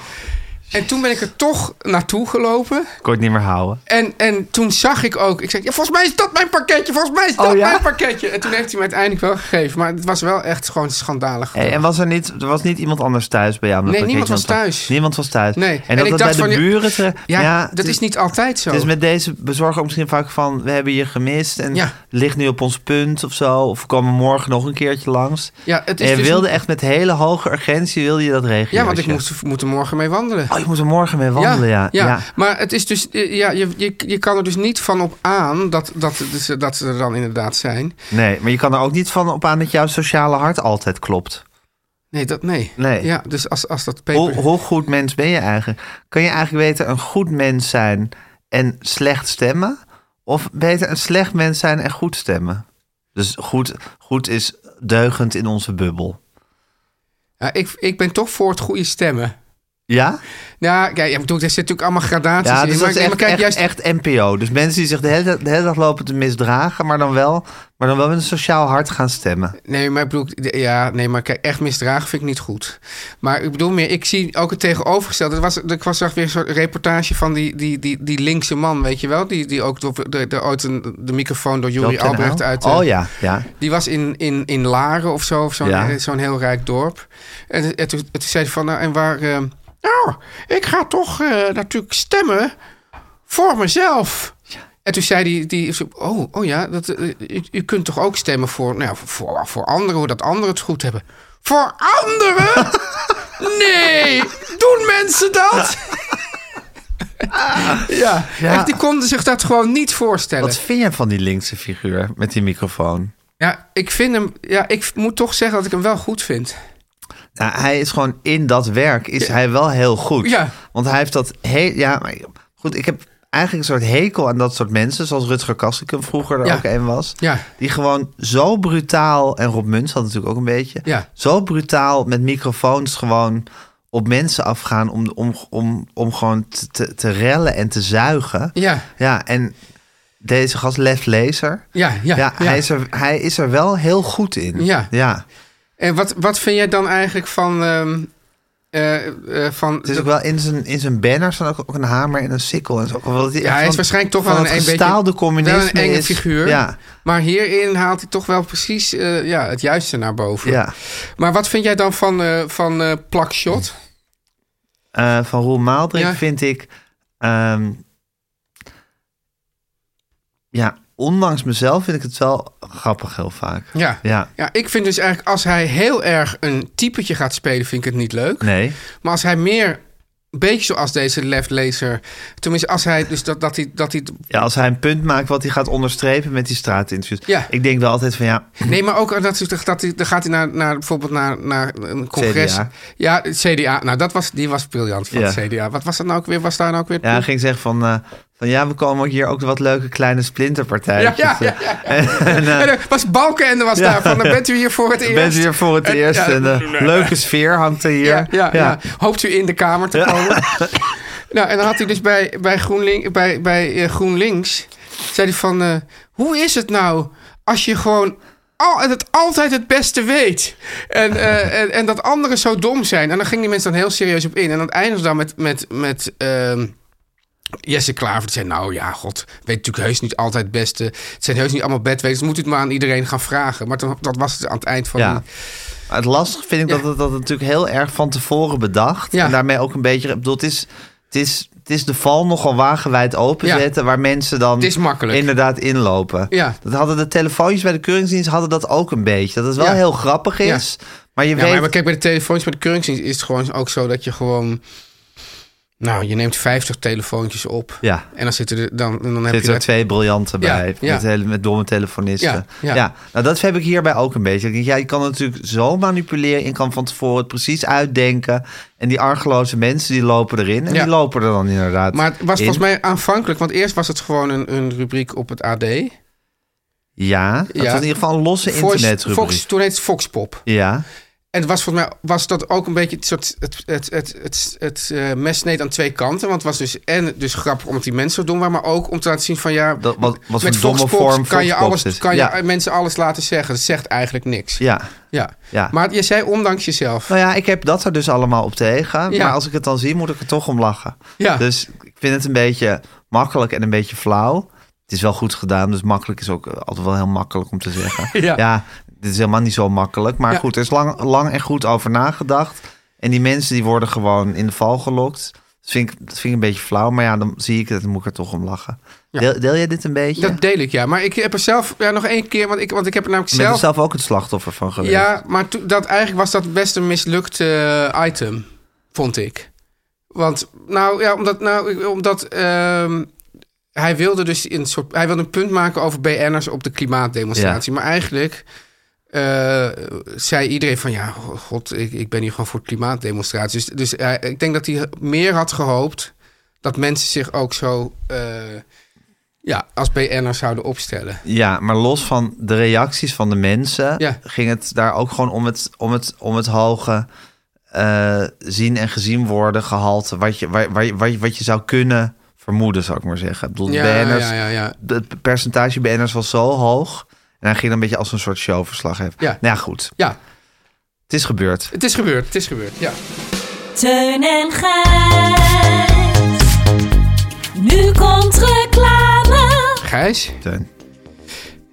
B: en toen ben ik er toch naartoe gelopen.
A: Kon je het niet meer houden.
B: En, en toen zag ik ook, ik zei, ja, volgens mij is dat mijn pakketje, volgens mij is dat
A: Oh, ja?
B: mijn pakketje. En toen heeft hij me uiteindelijk wel gegeven. Maar het was wel echt gewoon schandalig.
A: Hey, en was er, niet, er was niet iemand anders thuis bij jou? om dat
B: Nee, niemand
A: pakketje aan
B: was
A: te-
B: thuis.
A: Niemand was thuis.
B: Nee.
A: En
B: En
A: dat
B: ik
A: dat bij
B: dacht
A: de
B: van, ja,
A: buren... te-
B: ja,
A: het
B: dat is niet altijd zo.
A: Het is Dus met deze bezorger misschien vaak van... we hebben je gemist en
B: Ja.
A: ligt nu op ons punt of zo... of we komen morgen nog een keertje langs.
B: ja, het
A: En
B: is
A: je
B: dus
A: wilde
B: niet-
A: echt met hele hoge urgentie wilde je dat regelen.
B: Ja, want ik moest, moet er morgen mee wandelen.
A: Oh, je moet er morgen mee wandelen, ja.
B: ja, maar het is dus, eh, ja, je, je, je kan er dus niet van op aan dat, dat, dat ze- dat ze er dan inderdaad zijn.
A: Nee, maar je kan er ook niet van op aan dat jouw sociale hart altijd klopt.
B: Nee, dat, nee.
A: Nee.
B: Ja, dus als, als dat
A: Hoe,
B: paper...
A: hoe goed mens ben je eigenlijk? Kun je eigenlijk beter een goed mens zijn en slecht stemmen? Of beter een slecht mens zijn en goed stemmen? Dus goed, goed is deugend in onze bubbel.
B: Ja, ik, ik ben toch voor het goede stemmen.
A: Ja?
B: Ja, kijk, ja, ik bedoel, er zitten natuurlijk allemaal gradaties
A: Ja,
B: in.
A: dus
B: Ah, maar,
A: dat is
B: nee,
A: echt,
B: maar kijk,
A: echt,
B: juist,
A: echt NPO. Dus mensen die zich de hele, de hele dag lopen te misdragen, maar dan, wel, maar dan wel met een sociaal hart gaan stemmen.
B: Nee, maar ik bedoel, de- ja, nee, maar kijk, echt misdragen vind ik niet goed. Maar ik bedoel meer, ik zie ook het tegenovergestelde. Er was, ik was zag weer zo'n reportage van die, die, die, die linkse man, weet je wel? Die, die ook door, de, de, ooit een, de microfoon door Juri
A: Joop ten
B: Albrecht
A: Uyl?
B: uit... eh,
A: Oh ja, ja.
B: Die was in, in, in Laren of zo, of zo'n
A: Ja.
B: eh, zo'n heel rijk dorp. En, en toen, en toen zei hij van, nou, en waar... eh, nou, ik ga toch eh, natuurlijk stemmen voor mezelf. En toen zei die, die oh, oh ja, dat, eh, u, u kunt toch ook stemmen voor, nou, ja, voor, voor anderen, hoe dat anderen het goed hebben. Voor anderen?
A: (laughs)
B: nee, doen mensen dat? ja,
A: Ja.
B: Echt, die konden zich dat gewoon niet voorstellen.
A: Wat vind jij van die linkse figuur met die microfoon?
B: Ja, ik vind hem. Ja, ik moet toch zeggen dat ik hem wel goed vind.
A: Nou, hij is gewoon in dat werk is hij wel heel goed.
B: Ja.
A: Want hij heeft dat heel. Ja, maar goed, ik heb eigenlijk een soort hekel aan dat soort mensen, zoals Rutger Kastrikum vroeger er
B: Ja.
A: ook een was.
B: Ja.
A: Die gewoon zo brutaal, en Rob Muns had natuurlijk ook een beetje,
B: Ja.
A: zo brutaal met microfoons gewoon op mensen afgaan om, om, om, om gewoon te, te, te rellen en te zuigen.
B: Ja,
A: Ja, en deze gast, Lef Lezer.
B: ja, ja.
A: Ja, Hij, is er, hij is er wel heel goed in.
B: Ja.
A: ja.
B: En wat, wat vind jij dan eigenlijk van. ehm, eh, eh, van
A: Het is ook wel in zijn, in zijn banner staan ook, ook een hamer en een sikkel. En zo. Wel die-
B: ja, hij
A: van-
B: is waarschijnlijk toch
A: van
B: wel een,
A: het
B: een
A: gestaalde
B: beetje,
A: communisme
B: wel een enge
A: is-
B: figuur.
A: Ja,
B: Maar hierin haalt hij toch wel precies eh, ja, het juiste naar boven.
A: ja.
B: Maar wat vind jij dan van, eh van eh plakshot?
A: Eh, van Roel Maaldrink
B: Ja.
A: vind ik... ehm, ja, ondanks mezelf vind ik het wel grappig heel vaak.
B: Ja.
A: Ja,
B: Ja, ik vind dus eigenlijk als hij heel erg een typetje gaat spelen, vind ik het niet leuk.
A: nee.
B: Maar als hij meer, een beetje zoals deze leftlezer, tenminste als hij dus dat, dat hij, dat hij
A: Ja, als hij een punt maakt wat hij gaat onderstrepen met die straatinterviews.
B: Ja.
A: Ik denk wel altijd van ja,
B: Nee, maar ook eh, dat, dat, dat, dan gaat hij naar, naar bijvoorbeeld naar, naar een congres.
A: CDA.
B: Ja, het CDA. Nou, dat was, die was briljant van
A: Ja.
B: het CDA. Wat was dat nou ook weer? Was daar nou ook weer?
A: Ja, hij ging zeggen van, eh, van ja, we komen ook hier ook wat leuke kleine
B: ja,
A: splinterpartijen. Dus, eh,
B: ja, ja, ja. En (laughs) er was Balkenende was daar van. Dan bent u hier voor het eerst.
A: Bent hier voor het
B: En-
A: eerst.
B: ja,
A: en de leuke sfeer hangt er hier.
B: ja, ja, ja. Hoopt u in de kamer te
A: (laughs)
B: komen? nou, en dan had hij dus bij, bij, GroenLink, bij, bij eh, GroenLinks... zei hij van... eh, hoe is het nou als je gewoon al, het altijd het beste weet? En,
A: (laughs)
B: eh, en, en dat anderen zo dom zijn. En dan gingen die mensen dan heel serieus op in. En dan eindigde dan met... met, met ehm, Jesse Klaver die zei, nou ja, god, weet natuurlijk heus niet altijd het beste. Het zijn heus niet allemaal bedwetens, moet u het maar aan iedereen gaan vragen. Maar toen- dat was het aan het eind van...
A: Ja.
B: die-
A: Maar Het lastige vind ik
B: Ja.
A: dat, het, dat het natuurlijk heel erg van tevoren bedacht.
B: Ja.
A: En daarmee ook een beetje... Ik bedoel, het is, het is, het is de val nogal wagenwijd openzetten... waar mensen dan
B: Het is makkelijk.
A: inderdaad inlopen.
B: Ja.
A: Dat hadden de telefoontjes bij de keuringsdienst hadden dat ook een beetje. Dat het wel
B: Ja.
A: heel grappig
B: Ja.
A: is, maar je
B: Ja,
A: weet...
B: maar, maar kijk, bij de telefoontjes bij de keuringsdienst is het gewoon ook zo dat je gewoon... Nou, je neemt 50 telefoontjes op.
A: Ja.
B: En dan zitten er... Dan, dan heb
A: Er
B: je
A: zitten er twee briljanten
B: Ja,
A: bij.
B: ja.
A: Met, hele, met domme telefonisten.
B: Ja, ja.
A: nou dat heb ik hierbij ook een beetje. Ik denk, Ja, je kan het natuurlijk zo manipuleren. Je kan van tevoren het precies uitdenken. En die argeloze mensen die lopen erin. En
B: Ja.
A: die lopen er dan inderdaad.
B: Maar het was
A: in.
B: volgens mij aanvankelijk... Want eerst was het gewoon een, een rubriek op het AD.
A: Ja, het
B: Ja.
A: was in ieder geval een losse
B: Voice, Fox,
A: internetrubriek.
B: toen heet het Foxpop.
A: Ja,
B: En het was volgens mij was dat ook een beetje het, soort, het, het, het, het, het eh, mes sneed aan twee kanten. Want het was dus, en dus grappig omdat die mensen zo doen waren... maar ook om te laten zien van ja...
A: dat, wat, wat
B: met
A: voor domme
B: Fox Pops
A: vorm
B: kan, je,
A: Fox Pops
B: alles,
A: is.
B: kan
A: ja.
B: je mensen alles laten zeggen. Dat zegt eigenlijk niks.
A: ja.
B: Ja.
A: Ja.
B: Maar je zei ondanks jezelf.
A: Nou ja, ik heb dat er dus allemaal op tegen.
B: Ja.
A: Maar als ik het dan zie, moet ik er toch om lachen.
B: Ja.
A: Dus ik vind het een beetje makkelijk en een beetje flauw. Het is wel goed gedaan, dus makkelijk is ook eh, altijd wel heel makkelijk om te zeggen.
B: (laughs) Ja.
A: dit is helemaal niet zo makkelijk. Maar
B: Ja.
A: goed, er is lang, lang en goed over nagedacht. En die mensen die worden gewoon in de val gelokt. Dat vind ik, dat vind ik een beetje flauw, maar ja, dan zie ik het en moet ik er toch om lachen. Deel, deel jij dit een beetje?
B: Dat deel ik, ja. Maar ik heb er zelf ja, nog één keer, want ik, want ik heb er namelijk
A: Je bent er
B: zelf...
A: zelf ook het slachtoffer van geweest.
B: ja, maar toen- dat, eigenlijk was dat best een mislukt eh, item, vond ik. Want, nou ja, omdat, nou, ik- omdat ehm, hij wilde dus een soort... Hij wilde een punt maken over BN'ers op de klimaatdemonstratie. Maar eigenlijk eh, zei iedereen van... Ja, oh, god, ik, ik ben hier gewoon voor de klimaatdemonstratie. Dus, dus hij- ik denk dat hij meer had gehoopt... dat mensen zich ook zo... eh, ja, als BN'ers zouden opstellen.
A: Ja, maar los van de reacties van de mensen
B: Ja.
A: ging het daar ook gewoon om het, om het, om het hoge eh, zien en gezien worden gehalte. Wat je, waar, waar, je- waar je- wat je zou kunnen vermoeden, zou ik maar zeggen. Ik bedoel,
B: Ja,
A: BN'ers,
B: ja, ja, ja.
A: Het percentage BN'ers was zo hoog. En hij ging dan een beetje als een soort showverslag hebben.
B: Ja.
A: Nou ja, goed.
B: Ja,
A: Het is gebeurd.
B: het is gebeurd. Het is gebeurd. Ja.
D: Teun en Gijs. Nu komt reclame.
B: Gijs?
A: Teun.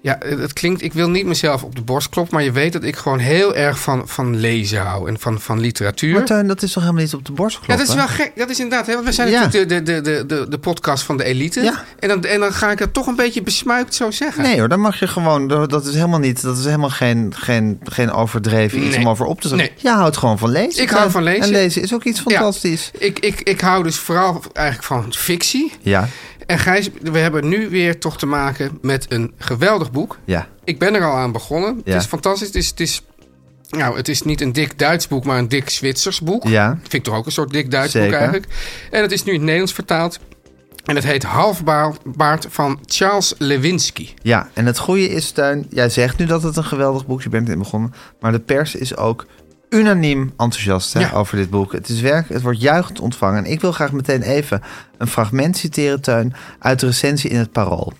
B: Ja, het klinkt, ik wil niet mezelf op de borst kloppen, maar je weet dat ik gewoon heel erg van, van lezen hou en van, van literatuur.
A: Maar Teun, dat is toch helemaal niet op de borst
B: ja,
A: kloppen?
B: dat is wel gek. Dat is inderdaad. Hè? Want we zijn
A: Ja.
B: natuurlijk de, de, de, de, de podcast van de elite.
A: Ja.
B: En, dan, en dan ga ik dat toch een beetje besmuikt zo zeggen.
A: Nee hoor, dan mag je gewoon... Dat is helemaal niet... Dat is helemaal geen, geen, geen overdreven iets
B: Nee.
A: om over op te zeggen.
B: Nee.
A: Jij houdt gewoon van lezen.
B: Ik hou
A: Teun.
B: van lezen.
A: En lezen is ook iets fantastisch.
B: Ja, ik, ik, ik hou dus vooral eigenlijk van fictie.
A: Ja.
B: En Gijs, we hebben nu weer toch te maken met een geweldig boek.
A: Ja.
B: Ik ben er al aan begonnen.
A: Ja.
B: Het is fantastisch. Het is, het is, nou, het is niet een dik Duits boek, maar een dik Zwitsers boek.
A: Ja.
B: Vind ik toch ook een soort dik Duits boek
A: Zeker.
B: eigenlijk. En het is nu in het Nederlands vertaald. En het heet Halfbaard van Charles Lewinsky.
A: Ja, en het goede is, Tuin, jij zegt nu dat het een geweldig boek is, je bent in begonnen. Maar de pers is ook unaniem enthousiast hè,
B: Ja.
A: over dit boek. Het is werk, het wordt juichend ontvangen. En ik wil graag meteen even een fragment citeren, Tuin, uit de recensie in het Parool.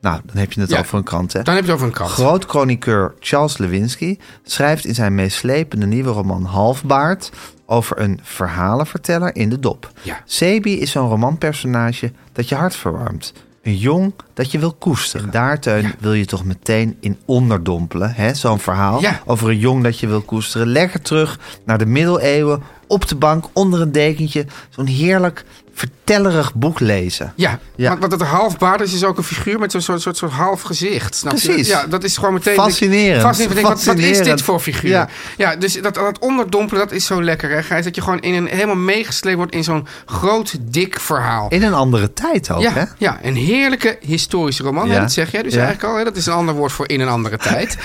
A: Nou, dan heb je het
B: Ja.
A: al voor een krant, hè?
B: Dan heb je het over een krant.
A: Groot chroniqueur Charles Lewinsky schrijft in zijn meeslepende nieuwe roman Halfbaard over een verhalenverteller in de dop.
B: Ja.
A: Sebi is zo'n romanpersonage dat je hart verwarmt. Een jong dat je wil koesteren. En daar, Teun, wil je toch meteen in onderdompelen. hè? Zo'n verhaal
B: Ja.
A: over een jong dat je wil koesteren. Lekker terug naar de middeleeuwen, op de bank, onder een dekentje. Zo'n heerlijk vertellerig boek lezen.
B: Ja,
A: Ja.
B: Want, want dat halfbaard is, is ook een figuur met zo'n soort, soort, soort half gezicht. Snap
A: Precies.
B: Je? Ja, dat is gewoon meteen...
A: Fascinerend.
B: Fascinerend. Ik denk, Wat, wat is dit
A: Fascinerend.
B: voor figuur? Ja,
A: Ja.
B: dus dat, dat onderdompelen, dat is zo lekker, hè, Gijs? Dat je gewoon in een, helemaal meegesleept wordt in zo'n groot, dik verhaal.
A: In een andere tijd ook,
B: ja,
A: hè?
B: ja, een heerlijke historische roman, hè,
A: Ja.
B: dat zeg jij dus
A: Ja.
B: eigenlijk al. Hè? Dat is een ander woord voor in een andere
A: (laughs)
B: tijd.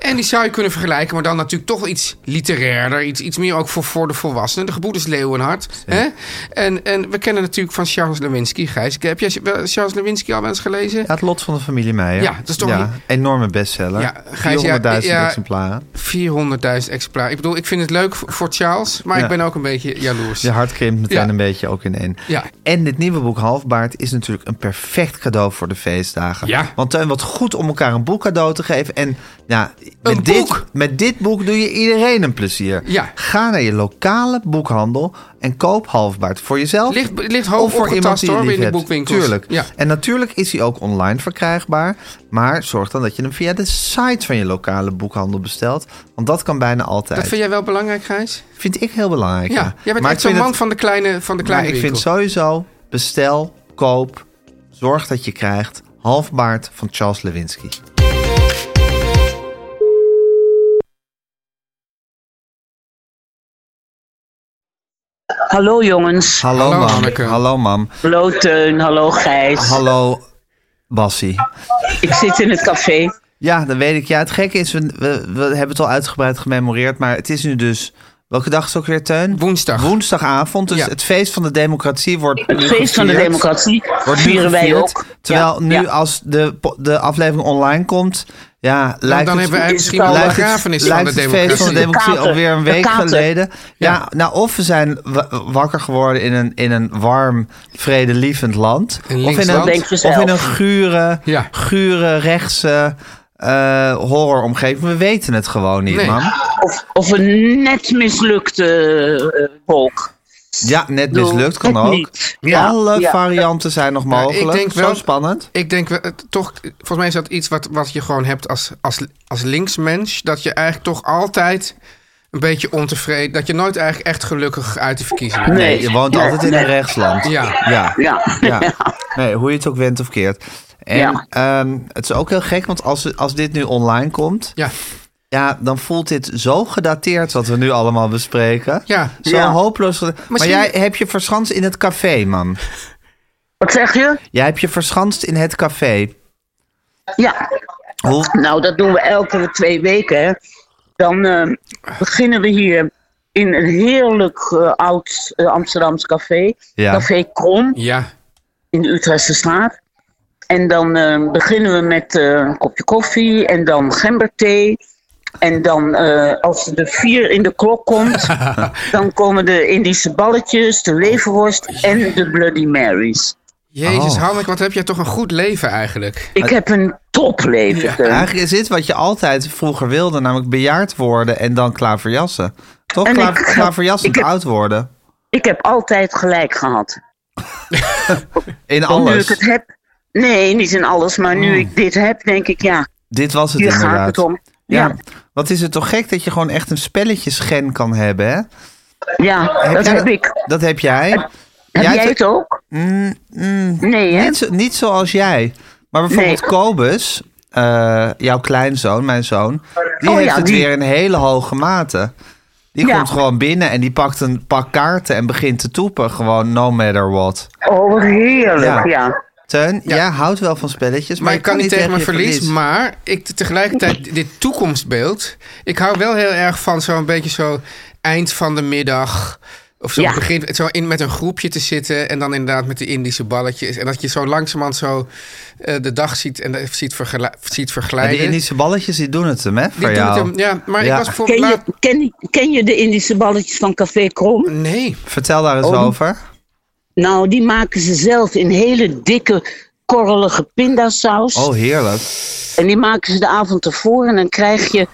B: En die zou je kunnen vergelijken, maar dan natuurlijk toch iets literairder. Iets, iets meer ook voor, voor de volwassenen. De geboedes Leeuwenhard. Hè? En, en we kennen natuurlijk van Charles Lewinsky, Gijs. Heb jij wel Charles Lewinsky al wel eens gelezen?
A: Ja, het lot van de familie Meijer.
B: Ja, dat is toch niet-
A: Enorme bestseller.
B: Ja,
A: Ja,
B: Gijs,
A: 400.000
B: ja, ja.
A: exemplaren.
B: 400.000 exemplaren. Ik bedoel, ik vind het leuk voor voor Charles, maar
A: Ja.
B: ik ben ook een beetje jaloers.
A: Je hart krimpt meteen
B: Ja.
A: een beetje ook in één.
B: Ja.
A: En dit nieuwe boek Halfbaard is natuurlijk een perfect cadeau voor de feestdagen.
B: Ja.
A: Want Teun, wat goed om elkaar een boek cadeau te geven. En ja, met,
B: Een boek!
A: Dit, met dit boek doe je iedereen een plezier.
B: Ja.
A: Ga naar je lokale boekhandel en koop Halfbaard voor jezelf.
B: Ligt- ligt hoog
A: of voor
B: opgetast,
A: iemand die je
B: hoor,
A: lief
B: in de
A: hebt.
B: boekwinkels.
A: Tuurlijk.
B: Ja.
A: En natuurlijk is hij ook online verkrijgbaar. Maar zorg dan dat je hem via de site van je lokale boekhandel bestelt. Want dat kan bijna altijd.
B: Dat vind jij wel belangrijk, Gijs?
A: Vind ik heel belangrijk.
B: Ja, jij bent
A: Maar
B: echt
A: ik
B: zo'n
A: vind
B: man
A: het-
B: van de kleine, van de kleine
A: maar ik
B: winkel.
A: vind sowieso, bestel, koop, zorg dat je krijgt. Halfbaard van Charles Lewinsky.
E: Hallo jongens.
A: Hallo,
B: Hallo,
A: mam.
B: Hanneke.
A: Hallo mam.
E: Hallo Teun, hallo Gijs.
A: Hallo Bassie.
E: Ik zit in het café.
A: Ja, dat weet ik. Ja, het gekke is, we, we, we hebben het al uitgebreid gememoreerd. Maar het is nu dus, welke dag is het ook weer Teun?
B: Woensdag.
A: Woensdagavond. Dus
B: Ja.
A: het feest van de democratie wordt
E: Het
A: nu
E: feest van de
A: gevierd.
E: democratie
A: Wordt nu
E: vieren wij
A: gevierd.
E: ook.
A: Terwijl
E: Ja,
A: nu
E: ja.
A: als de, po- de aflevering online komt, ja, lijkt
B: Dan, dan
A: het
B: hebben we eigenlijk
E: is
B: misschien wel de
E: trouwens-
B: begrafenis van
A: lijkt
B: de
A: het feest van de democratie
B: democratie.
E: kater.
A: alweer een
E: De
A: week
E: kater.
A: geleden. Ja,
B: Ja.
A: nou of we zijn wa- wakker geworden in een, in een warm, vredelievend land.
B: Een
A: of, in
B: links land.
A: een,
E: Denk je zelf.
A: of in een gure,
B: Ja.
A: gure rechtse eh, horroromgeving. We weten het gewoon niet,
B: Nee.
A: man.
E: Of, of een net mislukte eh, wolk.
A: Ja, net
E: Doe
A: mislukt
E: het
A: kan ook.
E: niet. Ja,
A: Alle
E: ja.
A: varianten zijn nog
B: Nou, ik
A: mogelijk.
B: denk wel-
A: Zo spannend.
B: Ik denk wel, eh, toch, volgens mij is dat iets wat, wat je gewoon hebt als, als, als linksmens. Dat je eigenlijk toch altijd een beetje ontevreden. Dat je nooit eigenlijk echt gelukkig uit de verkiezingen komt.
E: Nee.
A: je woont
E: Nee,
A: altijd in
E: nee.
A: een rechtsland.
B: Ja.
A: Ja.
E: Ja.
A: ja. Nee, hoe je het ook went of keert. En
E: Ja.
A: ehm, het is ook heel gek, want als, als dit nu online komt,
B: Ja.
A: ja, dan voelt dit zo gedateerd wat we nu allemaal bespreken.
B: Ja.
A: Zo
E: Ja.
A: hopeloos. geda- Maar
B: Misschien-
A: jij heb je verschanst in het café, man.
E: Wat zeg je?
A: Jij hebt je verschanst in het café.
E: Ja.
A: Hoe,
E: Nou, dat doen we elke twee weken. Hè. Dan eh, beginnen we hier in een heerlijk eh, oud eh, Amsterdams café.
A: Ja.
E: Café Krom.
B: Ja.
E: in de Utrechtse straat. ehm, En dan eh, beginnen we met eh, een kopje koffie en dan gemberthee. En dan eh, als de vier in de klok
A: (laughs)
E: komt, dan komen de Indische balletjes, de leverworst en de Bloody Marys.
B: Jezus,
A: Oh.
B: Hanneke, wat heb jij toch een goed leven eigenlijk?
E: Ik heb een topleven. Teun.
A: Eigenlijk is dit wat je altijd vroeger wilde, namelijk bejaard worden en dan klaverjassen. Toch?
E: En
A: Kla
E: ik-
A: klaverjassend
E: ik heb-
A: oud worden.
E: Ik heb altijd gelijk gehad.
A: In
E: Nu ik
A: alles.
E: het heb. Nee, niet in alles, maar nu ik dit heb, denk ik ja,
A: Dit was het
E: hier
A: inderdaad.
E: gaat het om.
A: Ja.
E: Ja,
A: Wat is het toch gek dat je gewoon echt een spelletjesgen kan hebben, hè?
E: ja, dat
A: jij
E: heb ik.
A: Dat heb jij.
E: Heb jij
A: hebt-
E: het ook?
A: Mm, mm,
E: Nee, hè?
A: niet, zo- niet zoals jij. Maar bijvoorbeeld
E: Nee.
A: Kobus, eh, jouw kleinzoon, mijn zoon, die
E: Oh
A: heeft
E: ja,
A: het
E: die-
A: weer in hele hoge mate. Die
E: Ja.
A: komt gewoon binnen en die pakt een pak kaarten en begint te toepen. Gewoon no matter what.
E: Oh, wat
A: Ja.
E: heerlijk, ja.
A: Teun, jij houdt wel van spelletjes, maar,
B: Maar
A: je
B: ik kan niet tegen mijn verlies,
A: Maar...
B: maar ik te- tegelijkertijd dit toekomstbeeld. Ik hou wel heel erg van zo'n beetje zo eind van de middag. Of zo
E: Ja.
B: begin zo in met een groepje te zitten en dan inderdaad met de Indische balletjes. En dat je zo langzamerhand zo eh, de dag ziet en eh, ziet, vergela- ziet vergelijken.
A: Die Indische balletjes, die doen het hem, hè, voor
B: Die doen
A: jou.
B: het hem- ja, maar
A: Ja.
B: ik was bijvoorbeeld
E: Ken, je,
B: laat-
E: ken, ken je de Indische balletjes van Café Krom?
B: Nee,
A: Vertel daar eens
E: Oh, die-
A: over.
E: Nou, die maken ze zelf in hele dikke, korrelige pindasaus.
A: Oh, heerlijk.
E: En die maken ze de avond ervoor. En dan krijg je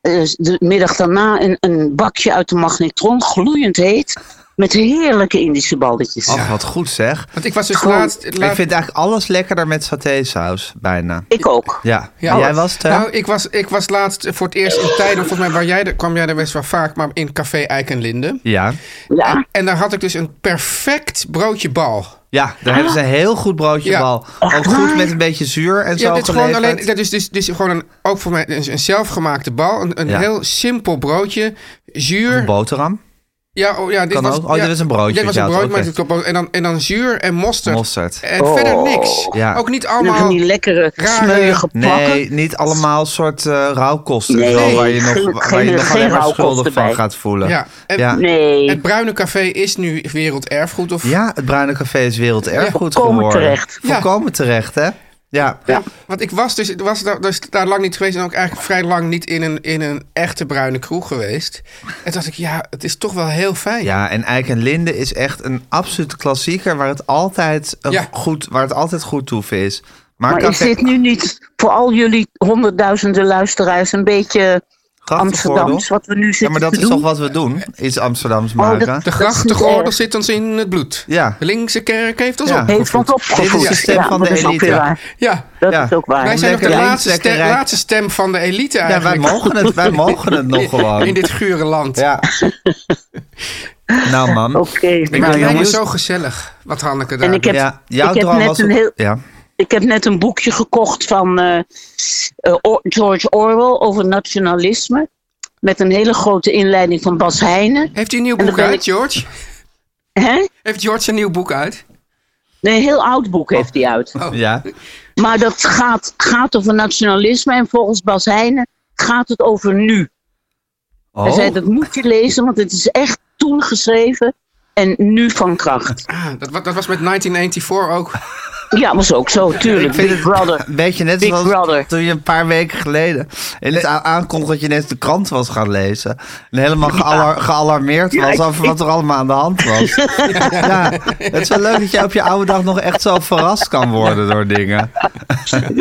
E: eh, de middag daarna een, een bakje uit de magnetron, gloeiend heet. Met heerlijke Indische balletjes.
A: Ach, wat goed zeg.
B: want ik was dus
E: Gewoon-
B: laatst... laatst-
A: Ik vind eigenlijk alles lekkerder met satésaus, bijna.
E: Ik ook.
A: Ja.
B: Ja.
A: Jij was het, hè?
B: Nou, ik was, ik was laatst voor het eerst in tijden, volgens mij waar jij, er- kwam jij er best wel vaak, maar in Café Eik en Linde.
A: Ja.
E: Ja.
B: En daar had ik dus een perfect broodje bal.
A: Ja, daar hebben ze een heel goed broodje
B: Ja. Oh,
A: bal. Ook goed met een beetje zuur en
B: Ja,
A: zo
B: dit is gewoon
A: geleverd.
B: alleen, dit is, dit is, dit is gewoon een, ook voor mij een, een zelfgemaakte bal. Een, een
A: Ja.
B: heel simpel broodje, zuur.
A: Een boterham,
B: Ja, oh, ja, dit
A: Kan
B: was,
A: ook. Oh,
B: ja,
A: dit is een broodje.
B: Dit was
A: Ja,
B: een broodje,
A: oké.
B: maar het klopt. en, dan, en dan zuur en mosterd. Eh,
A: mosterd.
B: En verder niks.
A: Ja.
B: Ook Oh. niet
E: En dan van
B: allemaal...
E: die lekkere,
B: rare-
E: smeurige pakken.
A: Nee, niet allemaal soort eh rauwkosten.
E: Nee,
A: zo, waar je
E: geen-
A: nog, waar je
E: geen-
A: nog
E: geen
A: alleen maar
E: rauwkosten
A: schuldig van
E: bij.
A: gaat voelen.
B: Ja, en-
A: ja.
E: Nee.
B: Het Bruine Café is nu werelderfgoed. Of,
A: Ja, het Bruine Café is werelderfgoed
E: Ja, volkomen
A: geworden.
E: terecht.
B: Ja.
A: Volkomen terecht, hè? Ja.
B: Ja, Want ik was dus, was daar, dus daar lang niet geweest en ook eigenlijk vrij lang niet in een, in een echte bruine kroeg geweest. En dacht ik, ja, het is toch wel heel fijn.
A: Ja, en Eik en Linde is echt een absolute klassieker waar het altijd, een
B: Ja.
A: goed, waar het altijd goed toeven is. Maar,
E: Maar is
A: Café-
E: dit nu niet voor al jullie honderdduizenden luisteraars een beetje
A: Grachtengordel?
E: Amsterdams wat we nu zitten
A: Ja, maar dat
E: te
A: is
E: doen?
A: toch wat we doen? Iets Amsterdams
E: dat-
A: maken.
B: De
E: Dat is niet
B: grachtengordel
E: erg.
B: zit ons in het bloed.
A: Ja.
B: De linkse kerk heeft ons
A: Ja.
B: op.
E: Heeft ons
A: Dit is de
E: opgevoed.
A: stem
E: Ja,
A: van
E: maar
A: de
E: dat is ook weer
A: elite.
E: waar.
B: Ja.
E: Dat
A: Ja.
E: is ook waar.
B: Wij zijn nog de
A: Lekker links,
B: laatste,
A: lekker
B: stem,
A: rechts.
B: laatste stem van de elite
A: Ja, wij
B: eigenlijk.
A: mogen het, wij mogen het nog gewoon.
B: (laughs) In dit gure land.
A: Ja. Nou, man.
E: Oké.
B: Ik
E: nou,
B: vind het
A: jongens.
B: zo gezellig, wat Hanneke daar
E: En ik heb-
A: ja, jouw
E: ik heb
A: droom
E: net
A: was
E: een
A: op-
E: heel-
A: Ja.
E: Ik heb net een boekje gekocht van eh, eh, Or- George Orwell over nationalisme. Met een hele grote inleiding van Bas Heijnen.
B: Heeft hij een nieuw
E: En
B: boek
E: dan ben
B: uit,
E: ik-
B: George?
E: Hè?
B: Heeft George een nieuw boek uit?
E: Nee, een heel oud boek heeft hij uit.
B: Oh.
A: ja.
E: Maar dat gaat, gaat over nationalisme. En volgens Bas Heijnen gaat het over nu. Hij
A: Oh,
E: zei, dat moet je lezen, want het is echt toen geschreven en nu van kracht.
B: Ah, dat, wa- dat was met 1984 ook.
E: Ja, was ook zo, tuurlijk.
A: vind
E: Big
A: het- (laughs)
E: Brother.
A: een beetje Oh, net
E: Big
A: zoals
E: Brother.
A: toen je een paar weken geleden in het a- aankondigde dat je net de krant was gaan lezen. En helemaal gealar- gealarmeerd was over wat er allemaal aan de hand
E: (laughs)
A: was. Ja, het is wel leuk dat je op je oude dag nog echt zo verrast kan worden door dingen.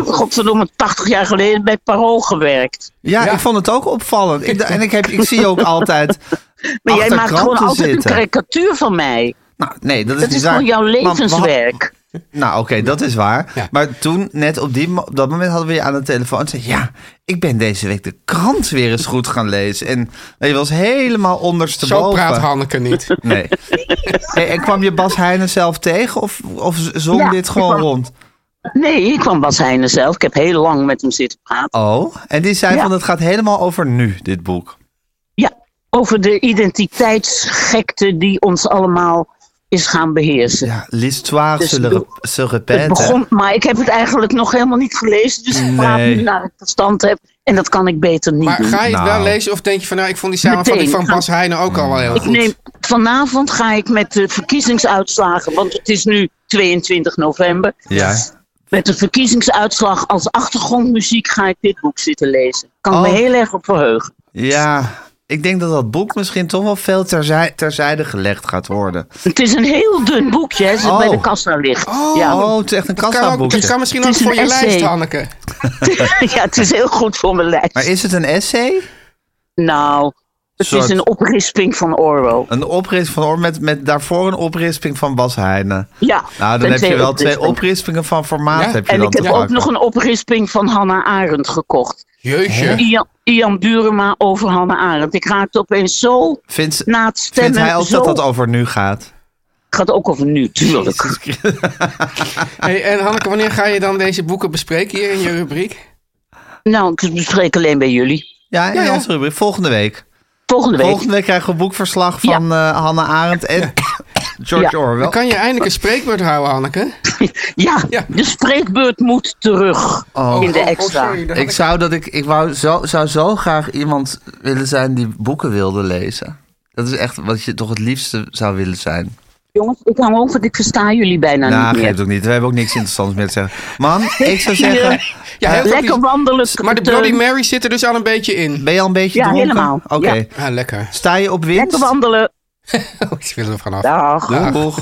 E: Godverdomme, 80 jaar geleden bij Parool gewerkt.
A: Ja, ik vond het ook opvallend. Ik, da- en ik, heb, ik zie ook altijd
E: (laughs) Maar jij
A: achter
E: maakt gewoon
A: kranten
E: altijd
A: zitten.
E: een karikatuur van mij.
A: Nou, nee, dat is
E: Dat
A: niet
E: is
A: waar.
E: gewoon jouw
A: Want we had-
E: levenswerk.
A: Nou, oké, dat is waar.
B: Ja.
A: Maar toen, net op, die, mo- op dat moment, hadden we je aan de telefoon. En zei, ja, ik ben deze week de krant weer eens goed gaan lezen. En je was helemaal ondersteboven.
B: Zo praat Hanneke
A: (laughs)
B: niet.
E: (laughs)
A: Nee. Hey, en kwam je Bas Heijnen zelf tegen? Of, of zong
E: Ja,
A: dit gewoon
E: ik kwam-
A: rond?
E: Nee, hier kwam Bas Heijnen zelf. Ik heb heel lang met hem zitten praten.
A: Oh, en die zei
E: Ja.
A: van, het gaat helemaal over nu, dit boek.
E: Ja, over de identiteitsgekte die ons allemaal is gaan beheersen.
A: Ja, l'histoire
E: Dus
A: se, le-
E: doe-
A: se
E: Het
A: répète.
E: begon, maar ik heb het eigenlijk nog helemaal niet gelezen. Dus ik praat
A: Nee.
E: nu naar ik verstand heb. En dat kan ik beter niet
B: Maar
E: doen.
B: ga je het wel
A: Nou.
B: lezen of denk je van nou, ik vond die samenvatting
E: Meteen.
B: van Bas Heijnen ook al wel heel
E: Ik
B: goed.
E: neem, vanavond ga ik met de verkiezingsuitslagen, want het is nu 22 november.
A: Ja.
E: met de verkiezingsuitslag als achtergrondmuziek ga ik dit boek zitten lezen. Kan ik
A: Oh.
E: me heel erg op verheugen.
A: Ja, ik denk dat dat boek misschien toch wel veel terzij, terzijde gelegd gaat worden.
E: Het is een heel dun boekje, hè, zit
A: Oh.
E: bij de kassa ligt. ja. (laughs)
A: Oh, het is echt een
B: Kan, ook,
A: kassa-boekje.
B: het kan misschien
E: Het
B: ook
E: is
B: voor
E: een
B: je
E: essay.
B: lijst, Hanneke.
E: ja, het is heel goed voor mijn lijst.
A: Maar is het een essay?
E: Nou, het
A: Soort-
E: is een oprisping van Orwell.
A: Een oprisping van Or- met, met daarvoor een oprisping van Bas Heijnen.
E: Ja,
A: Nou, dan
E: zijn
A: heb je wel
E: oprispingen.
A: twee oprispingen van formaat.
B: Ja.
A: Heb je
E: En
A: dan
E: ik heb
A: te
E: ook
A: pakken.
E: nog een oprisping van Hannah Arendt gekocht.
B: Jeetje.
E: Ian, Ian Burema over Hannah Arendt. Ik raakte opeens zo
A: Vindt,
E: na
A: vindt
E: het stemmen.
A: hij ook
E: Nou, zo...
A: dat dat over nu gaat?
E: gaat ook over nu, tuurlijk.
A: Ah.
B: Hey, en Hanneke, wanneer ga je dan deze boeken bespreken hier in je rubriek?
E: Nou, ik bespreek alleen bij jullie.
A: Ja, in
B: ja.
A: onze rubriek. Volgende week.
E: Volgende week.
A: Volgende week krijgen we een boekverslag van eh, Hannah Arendt en George
E: Ja.
A: Orwell.
B: Dan kan je eindelijk een spreekwoord houden, Hanneke.
E: (laughs) Ja,
B: Ja.
E: de spreekbeurt moet terug in de
B: Oh,
E: extra.
B: sorry, daar had
A: Ik zou dat ik, ik wou zo, zou zo graag iemand willen zijn die boeken wilde lezen. Dat is echt wat je toch het liefste zou willen zijn.
E: Jongens, ik hou op, want ik versta jullie bijna
A: nou,
E: niet meer.
A: geeft ook niet. We hebben ook niks interessants meer te zeggen.
B: (laughs)
A: Man, ik zou
E: Zie je?
A: zeggen, eh,
B: Ja, heel veel
E: Eh, Lekker
B: plezier.
E: wandelen.
B: Maar de
E: Teun.
B: Bloody Mary zit er dus al een beetje in.
A: ben je al een beetje
E: Ja,
A: dronken?
E: helemaal.
A: Oké.
E: Ja.
B: Ah, lekker.
A: Sta je op winst?
E: Lekker wandelen.
B: Ik wil er vanaf.
E: Dag.
A: Doeg, doeg.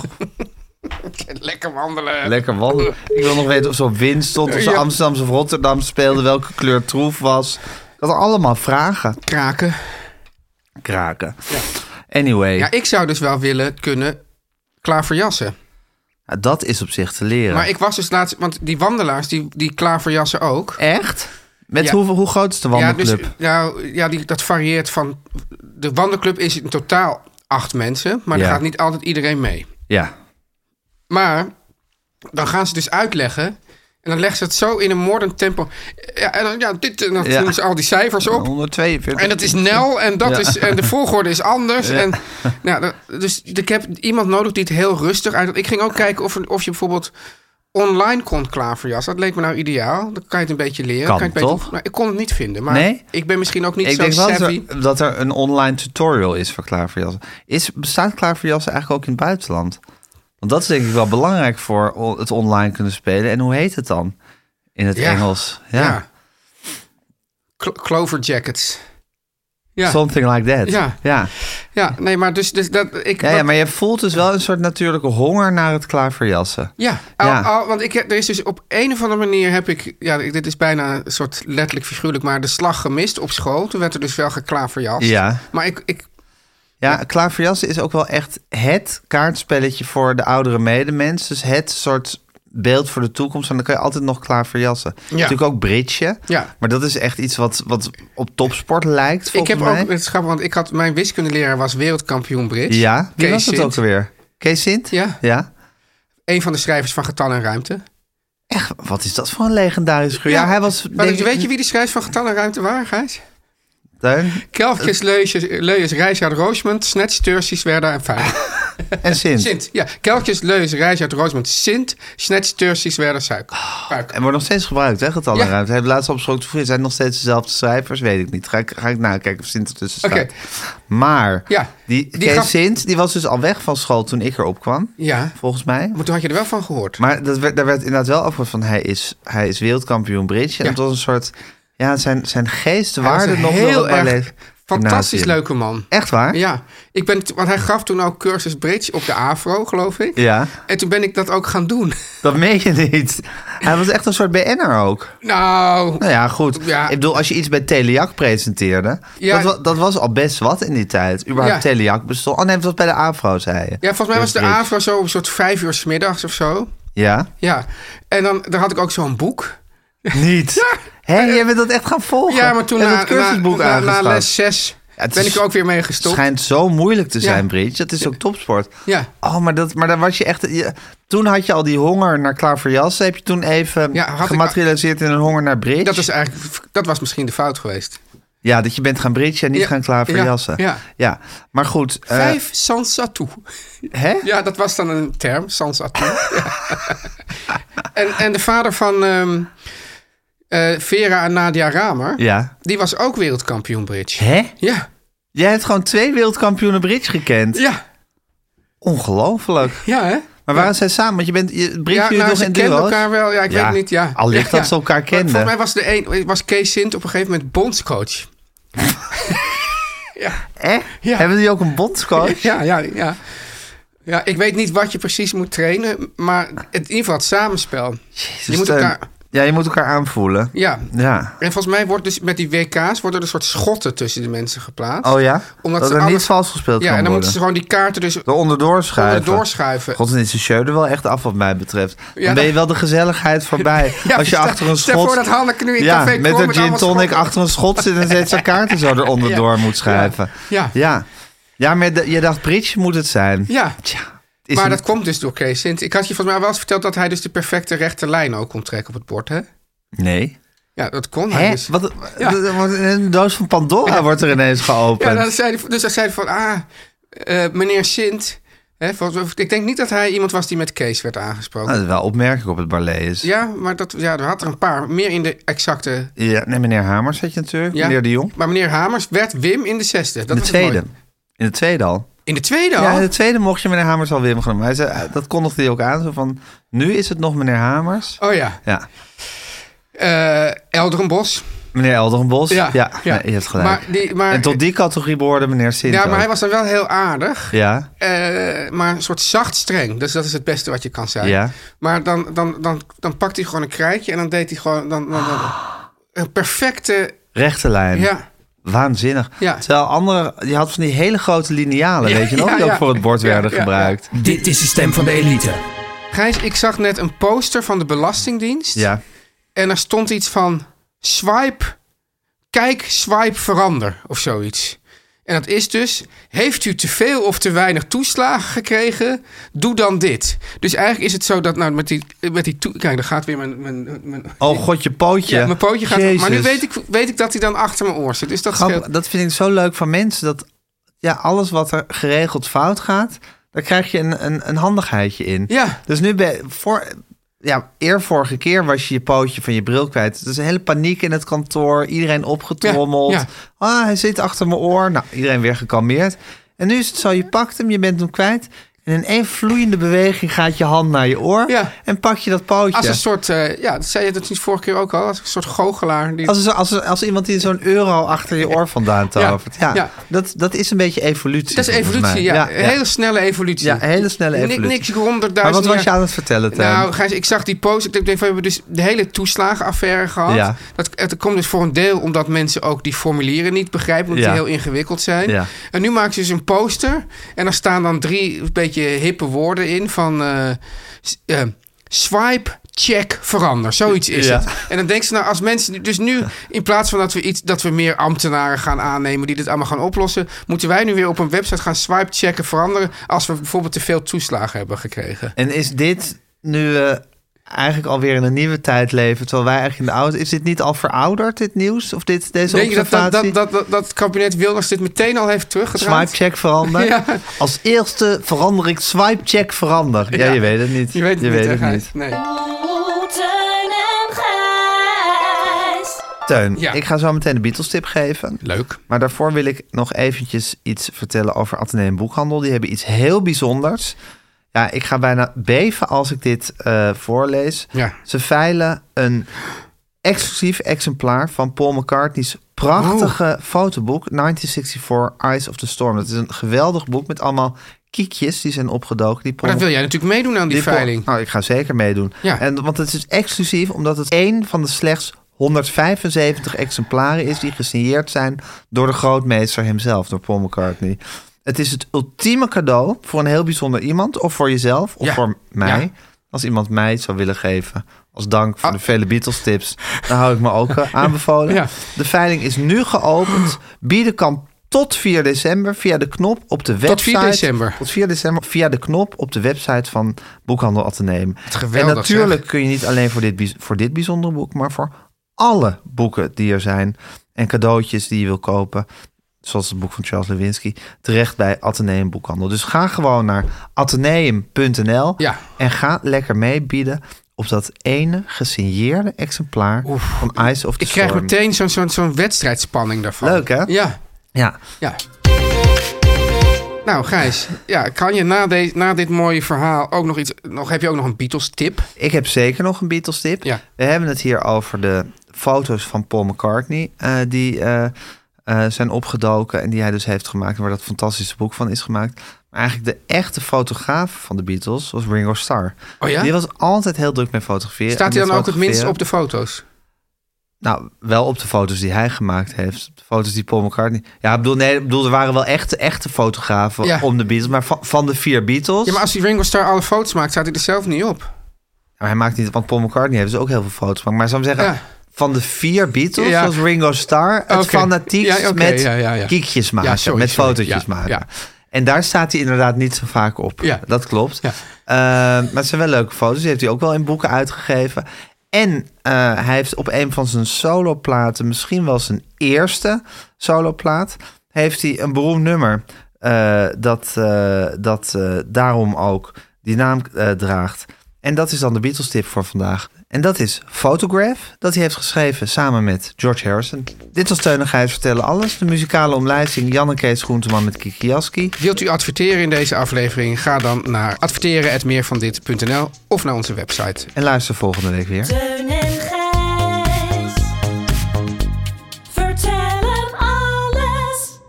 B: Lekker wandelen.
A: Lekker wandelen. Ik wil nog weten of ze op winst stond, of ze
B: Ja.
A: Amsterdamse of Rotterdam speelde, welke kleur troef was. Dat allemaal vragen.
B: kraken.
A: Kraken. Anyway,
B: Ja, ik zou dus wel willen kunnen klaverjassen.
A: dat is op zich te leren.
B: Maar ik was dus laatst... Want die wandelaars, die, die klaverjassen ook.
A: Echt? Met
B: Ja.
A: hoe, hoe groot is de
B: Ja,
A: wandelclub?
B: dus, nou, ja die, dat varieert van... De wandelclub is in totaal acht mensen. Maar
A: Ja.
B: er gaat niet altijd iedereen mee.
A: Ja.
B: Maar dan gaan ze dus uitleggen. En dan leggen ze het zo in een moordend tempo. Ja, en dan, ja, dit, en dan
A: Ja.
B: doen ze al die cijfers op.
A: 142.
B: En dat is Nel en, dat
A: Ja.
B: is, en de volgorde is anders. En, nou, dat- dus ik heb iemand nodig die het heel rustig uit. Ik ging ook kijken of, er- of je bijvoorbeeld online kon klaverjassen. Dat leek me nou ideaal. Dan kan je het een beetje leren.
A: Kan
B: je het beter-
A: toch?
B: maar ik kon het niet vinden. Maar
A: Nee?
B: ik ben misschien ook niet
A: ik
B: zo
A: denk wel dat
B: savvy.
A: er, dat er een online tutorial is voor klaverjassen. Is, bestaat klaverjassen eigenlijk ook in het buitenland? Want dat is denk ik wel belangrijk voor o- het online kunnen spelen. En hoe heet het dan in het
B: Ja.
A: Engels? Ja.
B: Ja. Clo- Clover jackets. Ja.
A: Something like that.
B: Ja.
A: Ja.
B: ja, nee, maar dus, dus dat ik.
A: Ja, ja, maar je voelt dus wel een soort natuurlijke honger naar het klaverjassen.
B: Ja, al,
A: Ja.
B: al- Oh, want ik heb, er is dus op een of andere manier heb ik, ja, dit is bijna een soort letterlijk figuurlijk, maar de slag gemist op school. Toen werd er dus wel geklaverjast.
A: Ja.
B: Maar ik, ik
A: Ja, klaverjassen is ook wel echt het kaartspelletje voor de oudere medemens. Dus het soort beeld voor de toekomst. En dan kan je altijd nog klaverjassen. Natuurlijk ook bridge.
B: Ja.
A: Maar dat is echt iets wat, wat op topsport lijkt,
B: ik
A: volgens
B: heb
A: mij.
B: ook, het is grappig, want ik had, mijn wiskundeleraar was wereldkampioen Brits.
A: Ja, wie
B: Kees
A: was het
B: Sint.
A: ook alweer? Kees Sint?
B: Ja.
A: ja.
B: Een van de schrijvers van Getal en Ruimte.
A: Echt, wat is dat voor een legendarisch figuur? Ja, hij was...
B: Maar
A: denk ik-
B: weet je wie de schrijvers van Getal en Ruimte waren, Gijs?
A: Teun
B: Kelvkes, Leusjes, Leus, Reisjaard, Roosmond, Snets, Tursi, Werda en
A: Ah.
B: Fijn. (laughs)
A: en Sint.
B: Sint, ja. Kelkjes, Leus, Reisjaard, Roosmond, Sint, Snets, Tursi, Werda, Suik. Fuik.
A: En wordt nog steeds gebruikt, hè, getallen
B: Ja.
A: ruimte. Hij heeft laatst opgesproken te vroeg. Zijn het nog steeds dezelfde cijfers? Weet ik niet. Ga ik, ga ik nakijken of Sint ertussen staat.
B: Oké.
A: Maar
B: Ja,
A: die,
B: die
A: Kees
B: gaf-
A: Sint die was dus al weg van school toen ik erop kwam,
B: Ja,
A: volgens mij.
B: maar toen had je er wel van gehoord.
A: Maar dat werd, daar werd inderdaad wel afgehoord van hij is, hij is wereldkampioen bridge. En
B: Ja.
A: het was een soort, ja, zijn, zijn geest waarde
B: Hij was
A: nog
B: een
A: wel
B: erg
A: leef.
B: Fantastisch
A: Gymnasium.
B: leuke man.
A: Echt waar?
B: Ja, ik ben, t- want hij gaf toen ook cursus bridge op de AVRO, geloof ik.
A: Ja.
B: En toen ben ik dat ook gaan doen. (laughs)
A: Dat meen je niet. Hij was echt een soort BN'er ook.
B: Nou,
A: Nou ja, goed.
B: Ja.
A: Ik bedoel, als je iets bij Teliac presenteerde...
B: Ja.
A: Dat, wa- dat was al best wat in die tijd. Überhaupt
B: Ja.
A: Teliac bestond... Oh nee, dat was bij de AVRO, zei je.
B: ja, volgens mij was de
A: Bridge.
B: AVRO zo om een soort vijf uur 's middags of zo. (laughs)
A: Ja?
B: Ja, en dan daar had ik ook zo'n boek.
A: Niet. Hé, jij bent dat echt gaan volgen.
B: Ja, maar toen
A: Je hebt
B: na,
A: dat cursusboek
B: na, na, na
A: aangeschaft.
B: les 6
A: het
B: ben
A: is-
B: ik er ook weer mee
A: Het
B: gestopt.
A: schijnt zo moeilijk te zijn,
B: Ja.
A: Bridge. Dat is ook topsport.
B: Ja.
A: Oh, maar, dat, maar dan was je echt... je- toen had je al die honger naar klaverjassen. Heb je toen even
B: Ja, had ik-
A: gematerialiseerd in een honger naar Bridge?
B: Dat, is eigenlijk, dat was misschien de fout geweest.
A: Ja, dat je bent gaan Bridge en niet
B: Ja,
A: gaan klaverjassen.
B: ja, ja.
A: maar goed. eh,
B: Vijf sans atout.
A: Hè?
B: Ja, dat was dan een term, sans atout. Ja. en, en de vader van ehm, eh, Vera en Nadia Ramer,
A: Ja.
B: die was ook wereldkampioen bridge.
A: Hè?
B: Ja,
A: Jij hebt gewoon twee wereldkampioenen bridge gekend.
B: ja,
A: Ongelooflijk.
B: ja hè?
A: Maar waarom zijn ze samen? Want je bent, je brengt jullie
B: nou,
A: toch
B: ze
A: in
B: kennen
A: duo's?
B: elkaar wel. Ja, ik
A: Ja,
B: weet niet. Ja.
A: al ligt
B: Ja,
A: dat
B: ja.
A: ze elkaar
B: Maar
A: kenden.
B: Volgens mij was, de een, was Kees Sint op een gegeven moment bondscoach. ja.
A: Hè?
B: Ja.
A: Hebben die ook een
B: (laughs)
A: bondscoach?
B: Ja, ja, ja. Ja, ik weet niet wat je precies moet trainen, maar het, in ieder geval het samenspel.
A: Jezus,
B: je moet
A: Teun.
B: elkaar...
A: Ja, je moet elkaar aanvoelen.
B: Ja.
A: Ja.
B: En volgens mij wordt dus met die WK's worden er een soort schotten tussen de mensen geplaatst.
A: Oh ja?
B: Omdat
A: dat
B: ze
A: er
B: alles-
A: niet vals gespeeld
B: Ja,
A: kan
B: en
A: worden.
B: dan moeten ze gewoon die kaarten dus
A: Er onderdoor schuiven.
B: onderdoor schuiven.
A: God, dan is de show er wel echt af wat mij betreft. Dan
B: Ja,
A: ben je
B: dat-
A: wel de gezelligheid voorbij.
B: (laughs) Ja,
A: Als je
B: stel-
A: achter een schot...
B: stel voor dat Hanneke nu in
A: ja,
B: Café
A: met
B: Krom
A: een
B: met
A: gin
B: allemaal
A: tonic
B: schotten.
A: achter een schot zit en
B: (laughs)
A: zet zijn kaarten zo er onderdoor moet schuiven.
B: Ja. Ja.
A: Ja, ja maar de- je dacht Bridge moet het zijn.
B: Ja.
A: Tja, is
B: maar
A: een-
B: dat komt dus door Kees Sint. Ik had je volgens mij wel eens verteld dat hij dus de perfecte rechte lijn ook kon trekken op het bord, hè?
A: Nee.
B: Ja, dat kon hij
A: Hè?
B: dus.
A: Wat,
B: Ja.
A: er wordt Een doos van Pandora wordt er ineens geopend. Nou,
B: Ja, dan zei hij, dus dan zei hij van, ah, eh, meneer Sint. Hè, volgens- ik denk niet dat hij iemand was die met Kees werd aangesproken.
A: Nou, dat is wel opmerkelijk op het ballet is.
B: Ja, maar dat, ja, er had er een paar. Meer in de exacte...
A: Ja, nee, meneer Hamers zat je natuurlijk.
B: Ja.
A: Meneer de Jong.
B: Maar meneer Hamers werd Wim in de zesde. Dat
A: In de
B: was het mooie.
A: tweede. In de tweede al.
B: In de tweede al?
A: Ja, in de tweede mocht je meneer Hamers al Wim genoemd. Hij zei, eh, dat kondigde hij ook aan. Zo van, nu is het nog meneer Hamers.
B: Oh ja.
A: Ja.
B: Eh Elderenbos.
A: Meneer Elderenbos. Ja,
B: Ja,
A: ja,
B: ja.
A: nee, je hebt gelijk.
B: Maar die- maar-
A: en tot die categorie behoorde meneer Sint
B: Ja,
A: ook.
B: maar hij was dan wel heel aardig.
A: Ja,
B: Eh, maar een soort zacht streng. Dus dat is het beste wat je kan zijn.
A: Ja.
B: Maar dan, dan, dan, dan pakt hij gewoon een krijtje en dan deed hij gewoon... Dan, dan, dan- een perfecte...
A: rechte lijn.
B: Ja,
A: Waanzinnig.
B: Ja.
A: Terwijl andere, je had van die hele grote linealen, weet je nog,
B: ja,
A: die ook
B: ja.
A: voor het bord
B: Ja,
A: werden
B: ja,
A: gebruikt.
C: Dit is de stem van de elite.
B: Gijs, ik zag net een poster van de Belastingdienst.
A: Ja.
B: En daar stond iets van swipe, kijk, swipe, verander of zoiets. En dat is dus, heeft u te veel of te weinig toeslagen gekregen, doe dan dit. Dus eigenlijk is het zo dat, nou, met die, met die toe- kijk, daar gaat weer mijn, mijn, mijn,
A: Oh god, je pootje.
B: ja, mijn pootje gaat,
A: Jezus.
B: maar nu weet ik, weet ik dat hij dan achter mijn oor zit. Dus dat
A: Grappig,
B: scheelt.
A: dat vind ik zo leuk van mensen, dat ja, alles wat er geregeld fout gaat, daar krijg je een, een, een handigheidje in.
B: Ja.
A: Dus nu ben je voor, ja, eer vorige keer was je je pootje van je bril kwijt. Dus een hele paniek in het kantoor, iedereen opgetrommeld.
B: Ja, ja.
A: Ah, hij zit achter mijn oor. Nou, iedereen weer gekalmeerd. En nu is het zo, je pakt hem, je bent hem kwijt. En in één vloeiende beweging gaat je hand naar je oor.
B: Ja.
A: En pak je dat pootje.
B: Als een soort, eh, ja, dat zei je dat niet vorige keer ook al, als een soort goochelaar. Die,
A: Als, als, als iemand die zo'n euro achter je oor vandaan tovert. Ja,
B: Ja, ja.
A: Dat, dat is een beetje evolutie.
B: dat is
A: volgens mij.
B: evolutie, ja.
A: ja,
B: Een hele snelle evolutie.
A: Ja, een hele snelle
B: Ni-
A: evolutie.
B: Niks honderdduizend
A: Maar wat was je
B: jaar.
A: aan het eh, vertellen, Teun?
B: Nou, Gijs, ik zag die post. Ik denk, we hebben dus de hele toeslagenaffaire gehad.
A: Ja.
B: Dat, het komt dus voor een deel omdat mensen ook die formulieren niet begrijpen. Omdat
A: Ja.
B: die heel ingewikkeld zijn.
A: Ja.
B: En nu maken ze dus een poster. En daar staan dan drie een beetje hippe woorden in van... eh, s- eh, Swipe, check, verander. Zoiets is
A: Ja.
B: het. En dan denken ze, nou, als mensen. nu- Dus nu, in plaats van dat we, iets, dat we meer ambtenaren gaan aannemen die dit allemaal gaan oplossen, moeten wij nu weer op een website gaan swipe, checken, veranderen. Als we bijvoorbeeld te veel toeslagen hebben gekregen.
A: En is dit nu we eigenlijk alweer in een nieuwe tijd leven, terwijl wij eigenlijk in de oude... Is dit niet al verouderd, dit nieuws? Of dit, deze
B: Denk je dat, dat,
A: observatie?
B: dat, dat, dat, dat het kabinet Wilders dit meteen al heeft teruggedraaid?
A: Swipe check verander.
B: (laughs) Ja.
A: Als eerste verander ik swipe check verander. Ja,
B: Ja.
A: je weet het niet.
B: Je weet het niet, hè, Gijs? Nee.
D: Oh, Teun en Gijs.
A: Teun,
B: Ja.
A: ik ga zo meteen de Beatles tip geven.
B: Leuk.
A: Maar daarvoor wil ik nog eventjes iets vertellen over Atheneum Boekhandel. Die hebben iets heel bijzonders. Ja, ik ga bijna beven als ik dit eh, voorlees.
B: Ja.
A: Ze veilen een exclusief exemplaar van Paul McCartney's prachtige fotoboek 1964 Eyes of the Storm. Dat is een geweldig boek met allemaal kiekjes die zijn opgedoken. Die Paul
B: Maar dat wil jij natuurlijk meedoen aan die,
A: Dit kon-
B: veiling.
A: Nou, ik ga zeker meedoen.
B: Ja.
A: En, want het is exclusief omdat het één van de slechts 175 exemplaren is die gesigneerd zijn door de grootmeester hemzelf, door Paul McCartney. Het is het ultieme cadeau voor een heel bijzonder iemand, of voor jezelf, of
B: Ja.
A: voor mij.
B: Ja.
A: Als iemand mij iets zou willen geven als dank voor
B: Ah.
A: de vele Beatles-tips, dan hou ik me ook eh, aanbevolen.
B: (laughs) Ja.
A: De veiling is nu geopend. Bieden kan tot 4 december via de knop op de website.
B: Tot 4 december.
A: Tot 4 december via de knop op de website van Boekhandel Atheneum.
B: geweldig,
A: En natuurlijk kun je niet alleen voor dit, bijz- voor dit bijzondere boek, maar voor alle boeken die er zijn en cadeautjes die je wil kopen. Zoals het boek van Charles Lewinsky, terecht bij Atheneum Boekhandel. Dus ga gewoon naar atheneum.nl
B: Ja.
A: en ga lekker meebieden op dat ene gesigneerde exemplaar van Eyes of the
B: Ik krijg
A: Storm.
B: meteen zo'n zo'n zo'n wedstrijdspanning daarvan.
A: Leuk, hè?
B: Ja,
A: Ja,
B: ja. Nou, Gijs, ja, kan je na, de, na dit mooie verhaal ook nog iets... Nog, heb je ook nog een Beatles-tip?
A: Ik heb zeker nog een Beatles tip.
B: Ja.
A: We hebben het hier over de foto's van Paul McCartney. eh, die eh, eh, zijn opgedoken en die hij dus heeft gemaakt. En waar dat fantastische boek van is gemaakt. Maar eigenlijk de echte fotograaf van de Beatles was Ringo Starr.
B: Oh ja?
A: Die was altijd heel druk met fotograferen.
B: Staat
A: en
B: hij
A: met
B: dan ook het minst
A: fotograferen.
B: op de foto's?
A: Nou, wel op de foto's die hij gemaakt heeft. De foto's die Paul McCartney... Ja, ik bedoel, nee, ik bedoel er waren wel echte, echte fotografen
B: Ja.
A: om de Beatles. Maar van, van de vier Beatles...
B: Ja, maar als die Ringo Starr alle foto's maakt, staat hij er zelf niet op.
A: Maar hij maakt niet, want Paul McCartney heeft dus ook heel veel foto's gemaakt. Maar zou ik zeggen,
B: Ja.
A: van de vier Beatles
B: Ja.
A: was Ringo Starr het
B: Oké.
A: fanatiekst
B: Ja, oké,
A: met
B: ja, ja, ja.
A: kiekjes maken,
B: Ja, sorry,
A: met
B: sorry.
A: fotootjes
B: Ja,
A: maken.
B: ja.
A: En daar staat hij inderdaad niet zo vaak op.
B: Ja.
A: Dat klopt.
B: Ja.
A: Eh, maar het zijn wel leuke foto's. Die heeft hij ook wel in boeken uitgegeven. En eh, hij heeft op een van zijn soloplaten, misschien wel zijn eerste soloplaat, heeft hij een beroemd nummer eh, dat, eh, dat eh, daarom ook die naam eh, draagt. En dat is dan de Beatles tip voor vandaag. En dat is Photograph, dat hij heeft geschreven samen met George Harrison. Dit was Teun en Gijs vertellen alles. De muzikale omlijsting Jan en Kees Groenteman met Kiki Jaski.
B: Wilt u adverteren in deze aflevering? Ga dan naar adverteren.meervandit.nl of naar onze website.
A: En luister volgende week weer.
D: Teun en Gijs. Vertel hem alles.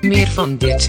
F: Meer van dit.